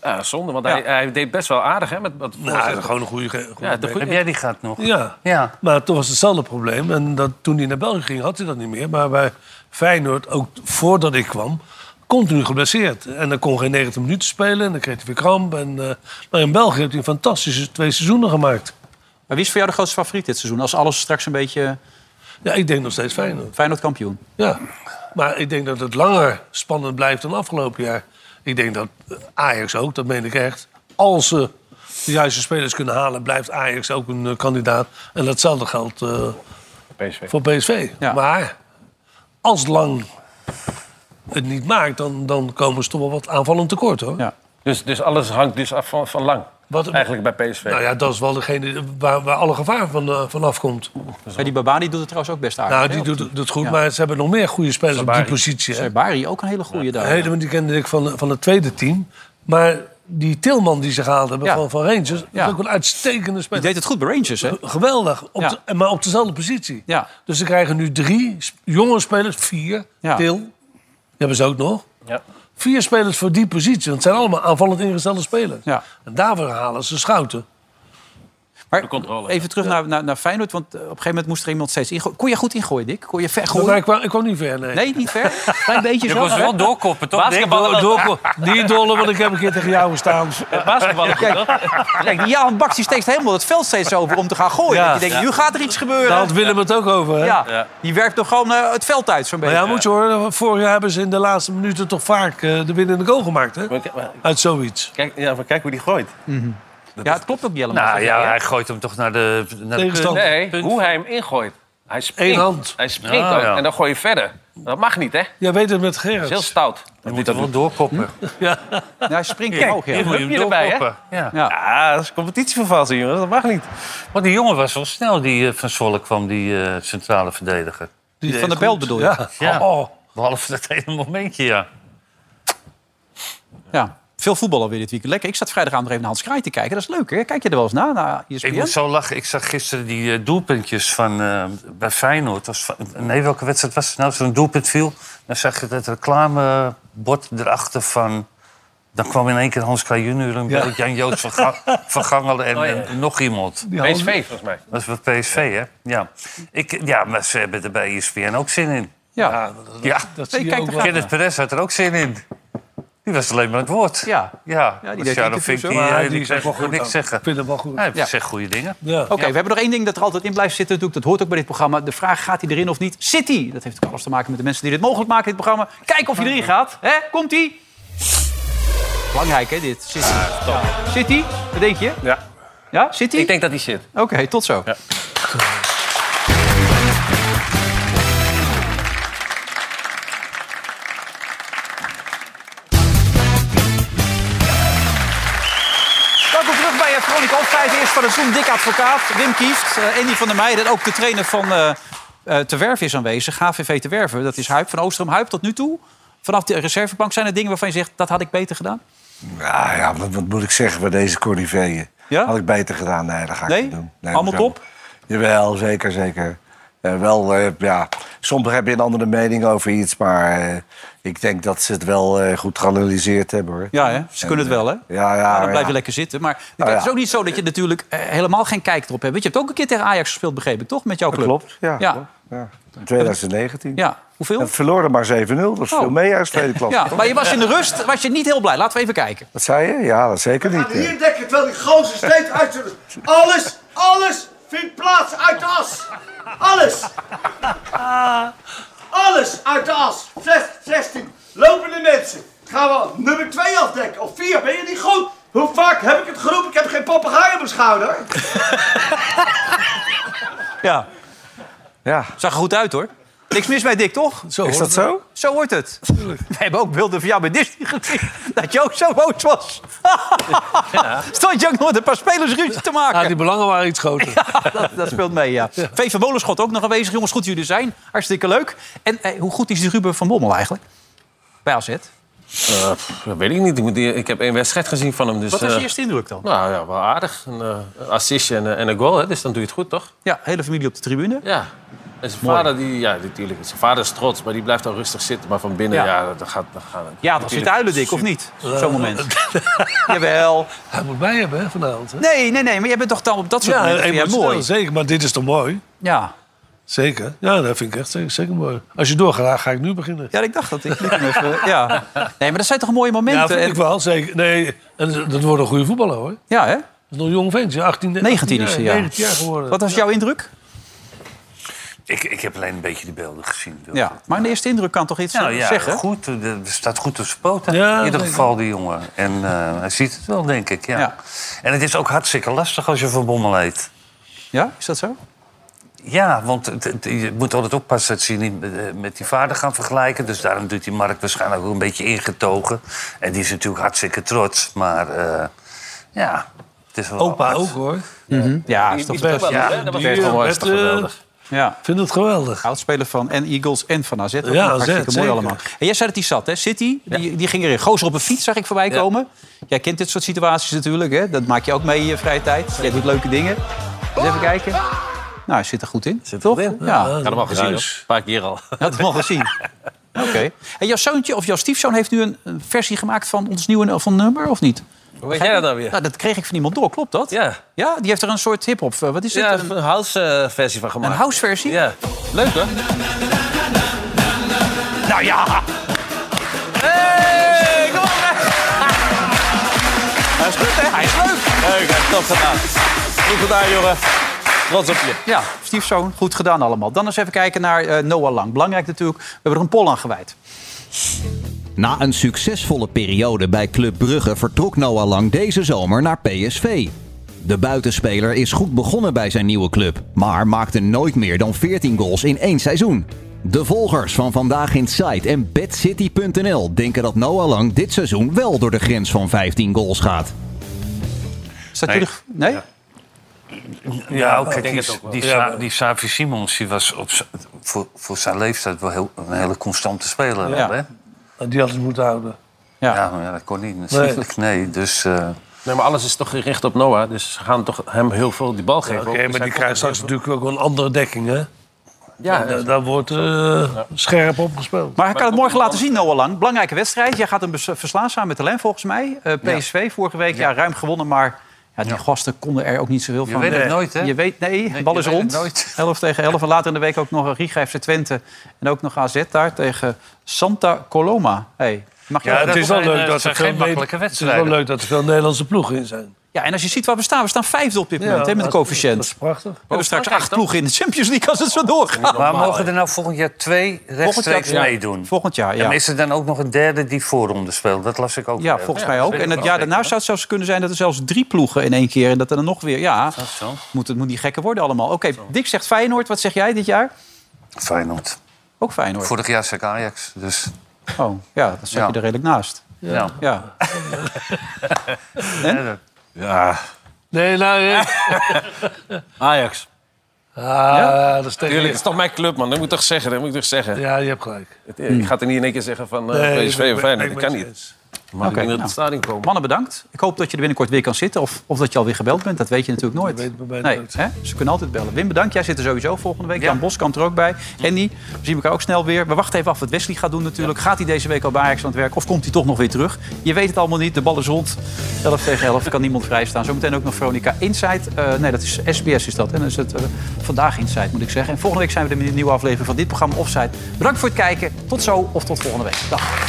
Ja, zonde, want Ja. hij, hij deed best wel aardig. Hè, met, met voorzetten. Nou, gewoon een goede... goede ja, de bek. goede- Heb jij die gaat nog? Ja. ja, maar toch was het hetzelfde probleem. En dat, toen hij naar België ging, had hij dat niet meer. Maar bij Feyenoord, ook voordat ik kwam, continu geblesseerd. En dan kon geen 90 minuten spelen en dan kreeg hij weer kramp. En, eh, maar in België heeft hij een fantastische twee seizoenen gemaakt. Maar wie is voor jou de grootste favoriet dit seizoen? Als alles straks een beetje... Ja, ik denk nog steeds Feyenoord. Feyenoord kampioen. Ja, maar ik denk dat het langer spannend blijft dan afgelopen jaar. Ik denk dat Ajax ook, dat meen ik echt. Als ze de juiste spelers kunnen halen, blijft Ajax ook een eh, kandidaat. En datzelfde geldt eh, voor PSV. Maar als lang het niet maakt, dan, dan komen ze toch wel wat aanvallend tekort hoor. dus, dus alles hangt dus af van, van lang. Eigenlijk bij PSV. Nou ja, dat is wel degene waar, waar alle gevaar van, eh, van afkomt. Ja, die Babani doet het trouwens ook best aardig. Nou, hè, die op doet die- doet het goed, Ja. maar ze hebben nog meer goede spelers op Sabari. die positie. hè. Sabari, ook een hele goede daar. Hele- want die kende ik van, van het tweede team. Maar die Tilman die ze gehaald hebben Ja. van, van Rangers... dat Ja. is ook een uitstekende speler. Die deed het goed bij Rangers, hè? Geweldig, op de- maar op dezelfde positie. Ja. Dus ze krijgen nu drie sp- jonge spelers, vier, Ja. Til. Die hebben ze ook nog. Ja. Vier spelers voor die positie. Want het zijn allemaal aanvallend ingestelde spelers. En daarvoor halen ze schouten. Maar even terug naar, naar, naar Feyenoord, want eh, op een gegeven moment moest er iemand steeds ingooien. Kon je goed ingooien, Dick? Kon je ver Maar gooien? ik, kwam, ik kwam niet ver, nee. Nee, niet ver. Klein beetje Je zo. was wel doorkoppen, Basketballen Niet dollen, want ik heb een keer tegen jou gestaan. Basketballen goed, Kijk, kijk, die Jan Baks die steekt helemaal het veld steeds over om te gaan gooien. Ja. Dat je denkt, Ja. nu gaat er iets gebeuren. Daar had Willem het ook over, hè? Ja, die werkt toch gewoon eh, het veld uit, zo'n Maar beetje. Nou ja, moet je horen, vorig jaar hebben ze in de laatste minuten toch vaak eh, de winnende goal gemaakt, hè? Uit zoiets. Kijk, ja, maar kijk hoe die gooit. Ja, het klopt ook niet Nou ja, hij gooit hem toch naar de. Naar de punt. Nee, hoe hij hem ingooit. Hij springt. Eén hand. Hij springt Ah, ook. ja. En dan gooi je verder. Dat mag niet, hè? Jij weet het met Dat is Gerrit. heel stout. Je moet er wel doorkoppen. Ja, hij springt Kijk, omhoog, ja. hier moet je hem Hupje Hm? erbij, hè? doorkoppen. Ja. Ja. Ah, dat is competitievervalsing, jongens. Dat mag niet. Maar die jongen was wel Oh. snel, die eh, van Zwolle kwam, die eh, centrale verdediger. Die van de Belt bedoel je? Ja. Oh. Behalve dat ene momentje, ja. Ja. Veel voetbal alweer dit weekend. Lekker. Ik zat vrijdagavond nog even naar Hans Kraai te kijken. Dat is leuk, hè? Kijk je er wel eens E naar, naar ESPN? Ik moet zo lachen. Ik zag gisteren die eh, doelpuntjes van, eh, bij Feyenoord. Was van- nee, welke wedstrijd was het nou? Zo'n doelpunt viel. Dan zag je dat reclamebord erachter van... Dan kwam in één keer Hans Kraaij junior en Ja. Jan-Joost van, Ga- van Gangelen en, Oh, ja. en nog iemand. Die PSV, Hans- volgens mij. Dat is wat PSV, hè? Ja. Ik, eh, ja, maar ze hebben er bij E ESPN ook zin in. Ja, dat, dat zie je ook wel. Kenneth Perez had er ook zin in. Die was alleen maar het woord. Ja, ja. die Want deed Sharon interviews Fink, ook. die, Maar eh, die die is kreeg wel goed niks ook. zeggen. Ik vind hem wel goed. Hij Ja. zegt goede dingen. Oké, we hebben nog één ding dat er altijd in blijft zitten. Dat doe ik- dat hoort ook bij dit programma. De vraag, gaat hij erin of niet? Zit hij? Dat heeft natuurlijk alles te maken met de mensen die dit mogelijk maken, dit programma. Kijk of hij erin gaat. Hè? Komt hij? Belangrijk, hè, dit? Zit hij? Ja. Zit hij? Wat denk je? Ja. Ja, zit hij? Ik denk dat hij zit. Oké, tot zo. Welkom terug bij eh, Veronica Opvijf. Eerst van de Zoom, dik advocaat, Wim Kieft, eh, Andy van der Meijden... en ook de trainer van eh eh, Te Werven is aanwezig, HVV Te Werven. Dat is Huip van Oostrom. Huip, tot nu toe, vanaf de reservebank... zijn er dingen waarvan je zegt, dat had ik beter gedaan? Nou ja, wat, wat moet ik zeggen bij deze corniveeën? Had ik beter gedaan? Nee, dat ga ik Nee? niet doen. Allemaal hoezo? top? Jawel, zeker, zeker. Eh, wel, eh, ja, soms heb je een andere mening over iets, maar eh, ik denk dat ze het wel eh, goed geanalyseerd hebben, hoor. Ja, hè? ze En, eh, kunnen het wel, hè? Ja, ja. dan blijf je ja. lekker zitten. Maar Nou, het is ja. ook niet zo dat je natuurlijk eh, helemaal geen kijk erop hebt. Want je hebt ook een keer tegen Ajax gespeeld, begreep ik, toch? Met jouw club. klopt, ja, klopt, In 2019. Ja, hoeveel? We verloren maar 7-0, dat is Oh. veel meer als tweede klas. Ja, maar je was in de rust was je niet heel blij. Laten we even kijken. Dat zei je? Ja, dat zeker niet. hè. Hier dekken, terwijl die gozer steeds uit... Alles, alles vindt plaats uit de as. Alles. Alles uit de as. Zes- 16 lopende mensen. Gaan we nummer 2 afdekken. Of 4, ben je niet goed? Hoe vaak heb ik het geroepen? Ik heb geen papegaai op mijn schouder. Ja. ja. Zag er goed uit, hoor. Niks mis bij Dick, toch? Is dat zo? Zo wordt het. We hebben ook beelden van jou bij Disney gezien. Dat je ook zo boos was. Stond je ook nooit een paar spelersruzie te maken. Ah, Ja, die belangen waren iets groter. Ja, dat, dat speelt mee, ja. VV Molenschot ook nog aanwezig. Jongens, goed dat jullie er zijn. Hartstikke leuk. En eh, hoe goed is die Ruben van Bommel eigenlijk? Bij AZ. Eh, pff, dat weet ik niet. Ik, moet die- ik heb één wedstrijd gezien van hem. Dus, Wat was je eh, eerste indruk dan? Nou ja, wel aardig. Een eh, assistje en, eh, en een goal, hè, dus dan doe je het goed, toch? Ja, hele familie op de tribune. Ja. En zijn Mooi. vader, die, ja, natuurlijk, zijn vader is trots, maar die blijft al rustig zitten. Maar van binnen, Ja. ja, dat gaat... Dat gaat Ja, dat zit huilen, Dick, of niet? Op zo'n moment. Jawel. Hij moet mij hebben, hè, vanavond. Hè? Nee, nee, nee. Maar jij bent toch dan op dat soort ja, momenten vind jij emotioneel, mooi. Zeker, maar dit is toch mooi? Ja. Zeker. Ja, dat vind ik echt zeker, zeker mooi. Als je doorgaat, ga ik nu beginnen. Ja, ik dacht dat. Ik liep hem even. Ja. Nee, maar dat zijn toch mooie Ja, momenten. vind En- ik wel, zeker. Nee, en dat wordt een goede voetballer, hoor. Ja, hè? Dat is nog een jong vent, ja, 18, 19 is hij, ja. 19 jaar geworden. Wat was jouw indruk? Ik, ik heb alleen een beetje de beelden gezien. dus. Ja, maar een eerste indruk kan toch iets Nou ja, zeggen? goed. eh, Er staat goed op zijn poten. Ja, in ieder zeker. geval, die jongen. En eh, hij ziet het wel, denk ik. Ja. En het is ook hartstikke lastig als je Van Bommel heet. Ja, is dat zo? Ja, want het- het- je moet altijd oppassen dat ze je niet met, eh, met die vader gaan vergelijken. Dus daarom doet die Mark waarschijnlijk ook een beetje ingetogen. En die is natuurlijk hartstikke trots. Maar eh, ja, het is wel Opa apart. ook, hoor. Ja, is toch Die- die fantastisch. Bert, hè? Dat was echt geweldig. Bert, eh, Ja. Vind het geweldig. Oudspeler van en Eagles en van AZ. Ja, Ja, hartstikke AZ, mooi zeker. allemaal. En jij zei dat hij zat, hè? City, die, die ging erin. Gozer op een fiets zag ik voorbij komen. Jij kent dit soort situaties natuurlijk, hè? Dat maak je ook mee in je vrije tijd. Jij doet leuke dingen. Eens even kijken. Nou, hij zit er goed in. Zit toch? Ja. Ik had hem al gezien, hoor. Ruis. een paar keer al. Je had hem al gezien. Oké. En jouw zoontje of jouw stiefzoon heeft nu een, een versie gemaakt van ons nieuwe van nummer, of niet? Hoe weet jij dat nou weer? Nou, dat kreeg ik van iemand door, klopt dat? Ja. Ja, die heeft er een soort hip-hop. eh, Wat is het? Ja, Een- een house-versie van gemaakt. Een house-versie? Ja. Leuk, hè? Nou ja! Hey, kom op, Hij is goed, hè? Hij is leuk. Leuk, hè? Top gedaan. Goed gedaan, jongen. Trots op je. Ja, stiefzoon, goed gedaan allemaal. Dan eens even kijken naar eh, Noah Lang. Belangrijk natuurlijk, we hebben er een poll aan gewijd. Na een succesvolle periode bij Club Brugge vertrok Noah Lang deze zomer naar PSV. De buitenspeler is goed begonnen bij zijn nieuwe club, maar maakte nooit meer dan 14 goals in één seizoen. De volgers van Vandaag in Site en BadCity.nl denken dat Noah Lang dit seizoen wel door de grens van 15 goals gaat. Is dat jullie... Nee? Ja, ik oké. denk die, het ook wel. die, Ja, Sa- die Savi Simons die was op, z- voor, voor zijn leeftijd wel heel, een hele constante speler. Ja. Wel, hè? Die hadden ze moeten houden. Ja. maar ja, dat kon niet natuurlijk. Nee, dus... eh, Nee, maar alles is toch gericht op Noah. Dus ze gaan toch hem heel veel die bal Ja, geven. Oké, Ook, dus maar hij die krijgt komt- straks natuurlijk ook wel een andere dekking, hè? Ja, daar, daar wordt eh, scherp op gespeeld. Maar hij kan het morgen laten zien, Noah Lang. Belangrijke wedstrijd. Jij gaat hem bes- verslaan samen met de Lijn, volgens mij. Eh, PSV vorige week, ja. ruim gewonnen, maar... Ja, die gasten konden er ook niet zoveel van. weet het Eh, nooit, hè? Je weet, nee, de Nee, bal je is weet het rond. nooit. 11 tegen 11. En later in de week ook nog een Riga FC Twente. En ook nog AZ daar tegen Santa Coloma. Hey, mag je Ja, ook- het is wel leuk dat er eh, zijn veel geen Ne- makkelijke Het is wel wedstrijden. leuk dat er veel Nederlandse ploegen in zijn. Ja, en als je ziet waar we staan. We staan vijfde op dit Ja, moment hè, met de dat- coëfficiënt. dat is prachtig. We hebben straks acht ploegen in de Champions League als het zo doorgaat. maar mogen er nou volgend jaar twee rechtstreeks ja. meedoen? Volgend jaar, ja. En is er dan ook nog een derde die voorronde speelt? Dat las ik ook. Ja, eh, volgens mij ook. dat En weet het ik jaar wel. daarna zou het zelfs kunnen zijn dat er zelfs drie ploegen in één keer... en dat er dan nog weer... Ja, dat zo? moet, het moet niet gekker worden allemaal. Oké, Dick zegt Feyenoord. Wat zeg jij dit jaar? Feyenoord. Ook Feyenoord. Vorig jaar zei ik Ajax, dus... Oh, ja, dat zat Ja. je er redelijk naast. Ja. ja. Ja. Nee, nou... eh, Ajax. ah, Ja? dat is tegen Tuurlijk, het is toch mijn club, man. Dat moet ik toch zeggen. Dat moet ik toch zeggen. Ja, je hebt gelijk. Het- Ik ga er niet in één keer zeggen van eh, Hmm. Nee, PSV ik of ben- Feyenoord. ik Dat ben kan het niet. Maar ik Oké, denk dat nou. het stadion komen. Mannen, bedankt. Ik hoop dat je er binnenkort weer kan zitten. Of, of dat je alweer gebeld bent. Dat weet je natuurlijk nooit. nee, hè? Ze kunnen altijd bellen. Wim, bedankt. Jij zit er sowieso volgende week. Jan Boskamp er ook bij. Andy, we zien elkaar ook snel weer. We wachten even af wat Wesley gaat doen natuurlijk. Gaat hij deze week al bij Ajax aan het werk? Of komt hij toch nog weer terug? Je weet het allemaal niet. De bal is rond. 11 tegen 11. Kan niemand vrijstaan. Zometeen ook nog Veronica Insight. Eh, nee, dat is SBS is dat. En dan is het eh, Vandaag Insight moet ik zeggen. En volgende week zijn we er met een nieuwe aflevering van dit programma Offside. Bedankt voor het kijken. Tot zo of tot volgende week. Dag.